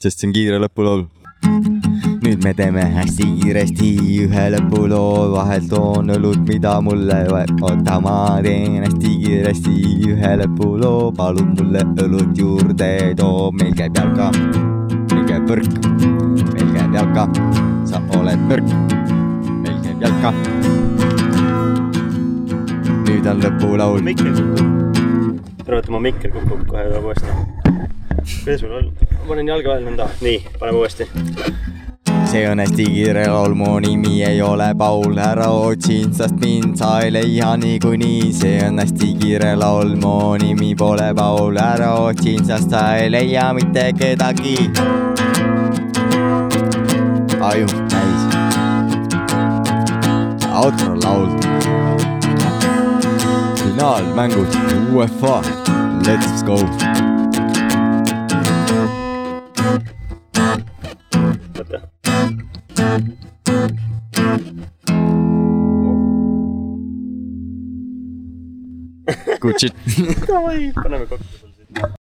sest see on kiire lõpulool . nüüd me teeme hästi kiiresti ühe lõpuloo , vahel toon õlut , mida mulle vaja , oota , ma teen hästi kiiresti ühe lõpuloo , palun mulle õlut juurde too , meil käib jalka , meil käib võrk , meil käib jalka , sa oled nõrk , meil käib jalka . nüüd on lõpulaul .
mikri kukub . arvad , et mu mikker kukub kohe tuleb uuesti ? kuidas mul on ? panen jalge vahele nõnda . nii , paneme uuesti .
see on hästi kiire laul , mu nimi ei ole Paul , ära otsi instast mind , sa ei leia niikuinii . see on hästi kiire laul , mu nimi pole Paul , ära otsi instast , sa ei leia mitte kedagi . aju täis . outro laul . finaalmängud UEFA , let's go .
davai , paneme kokku .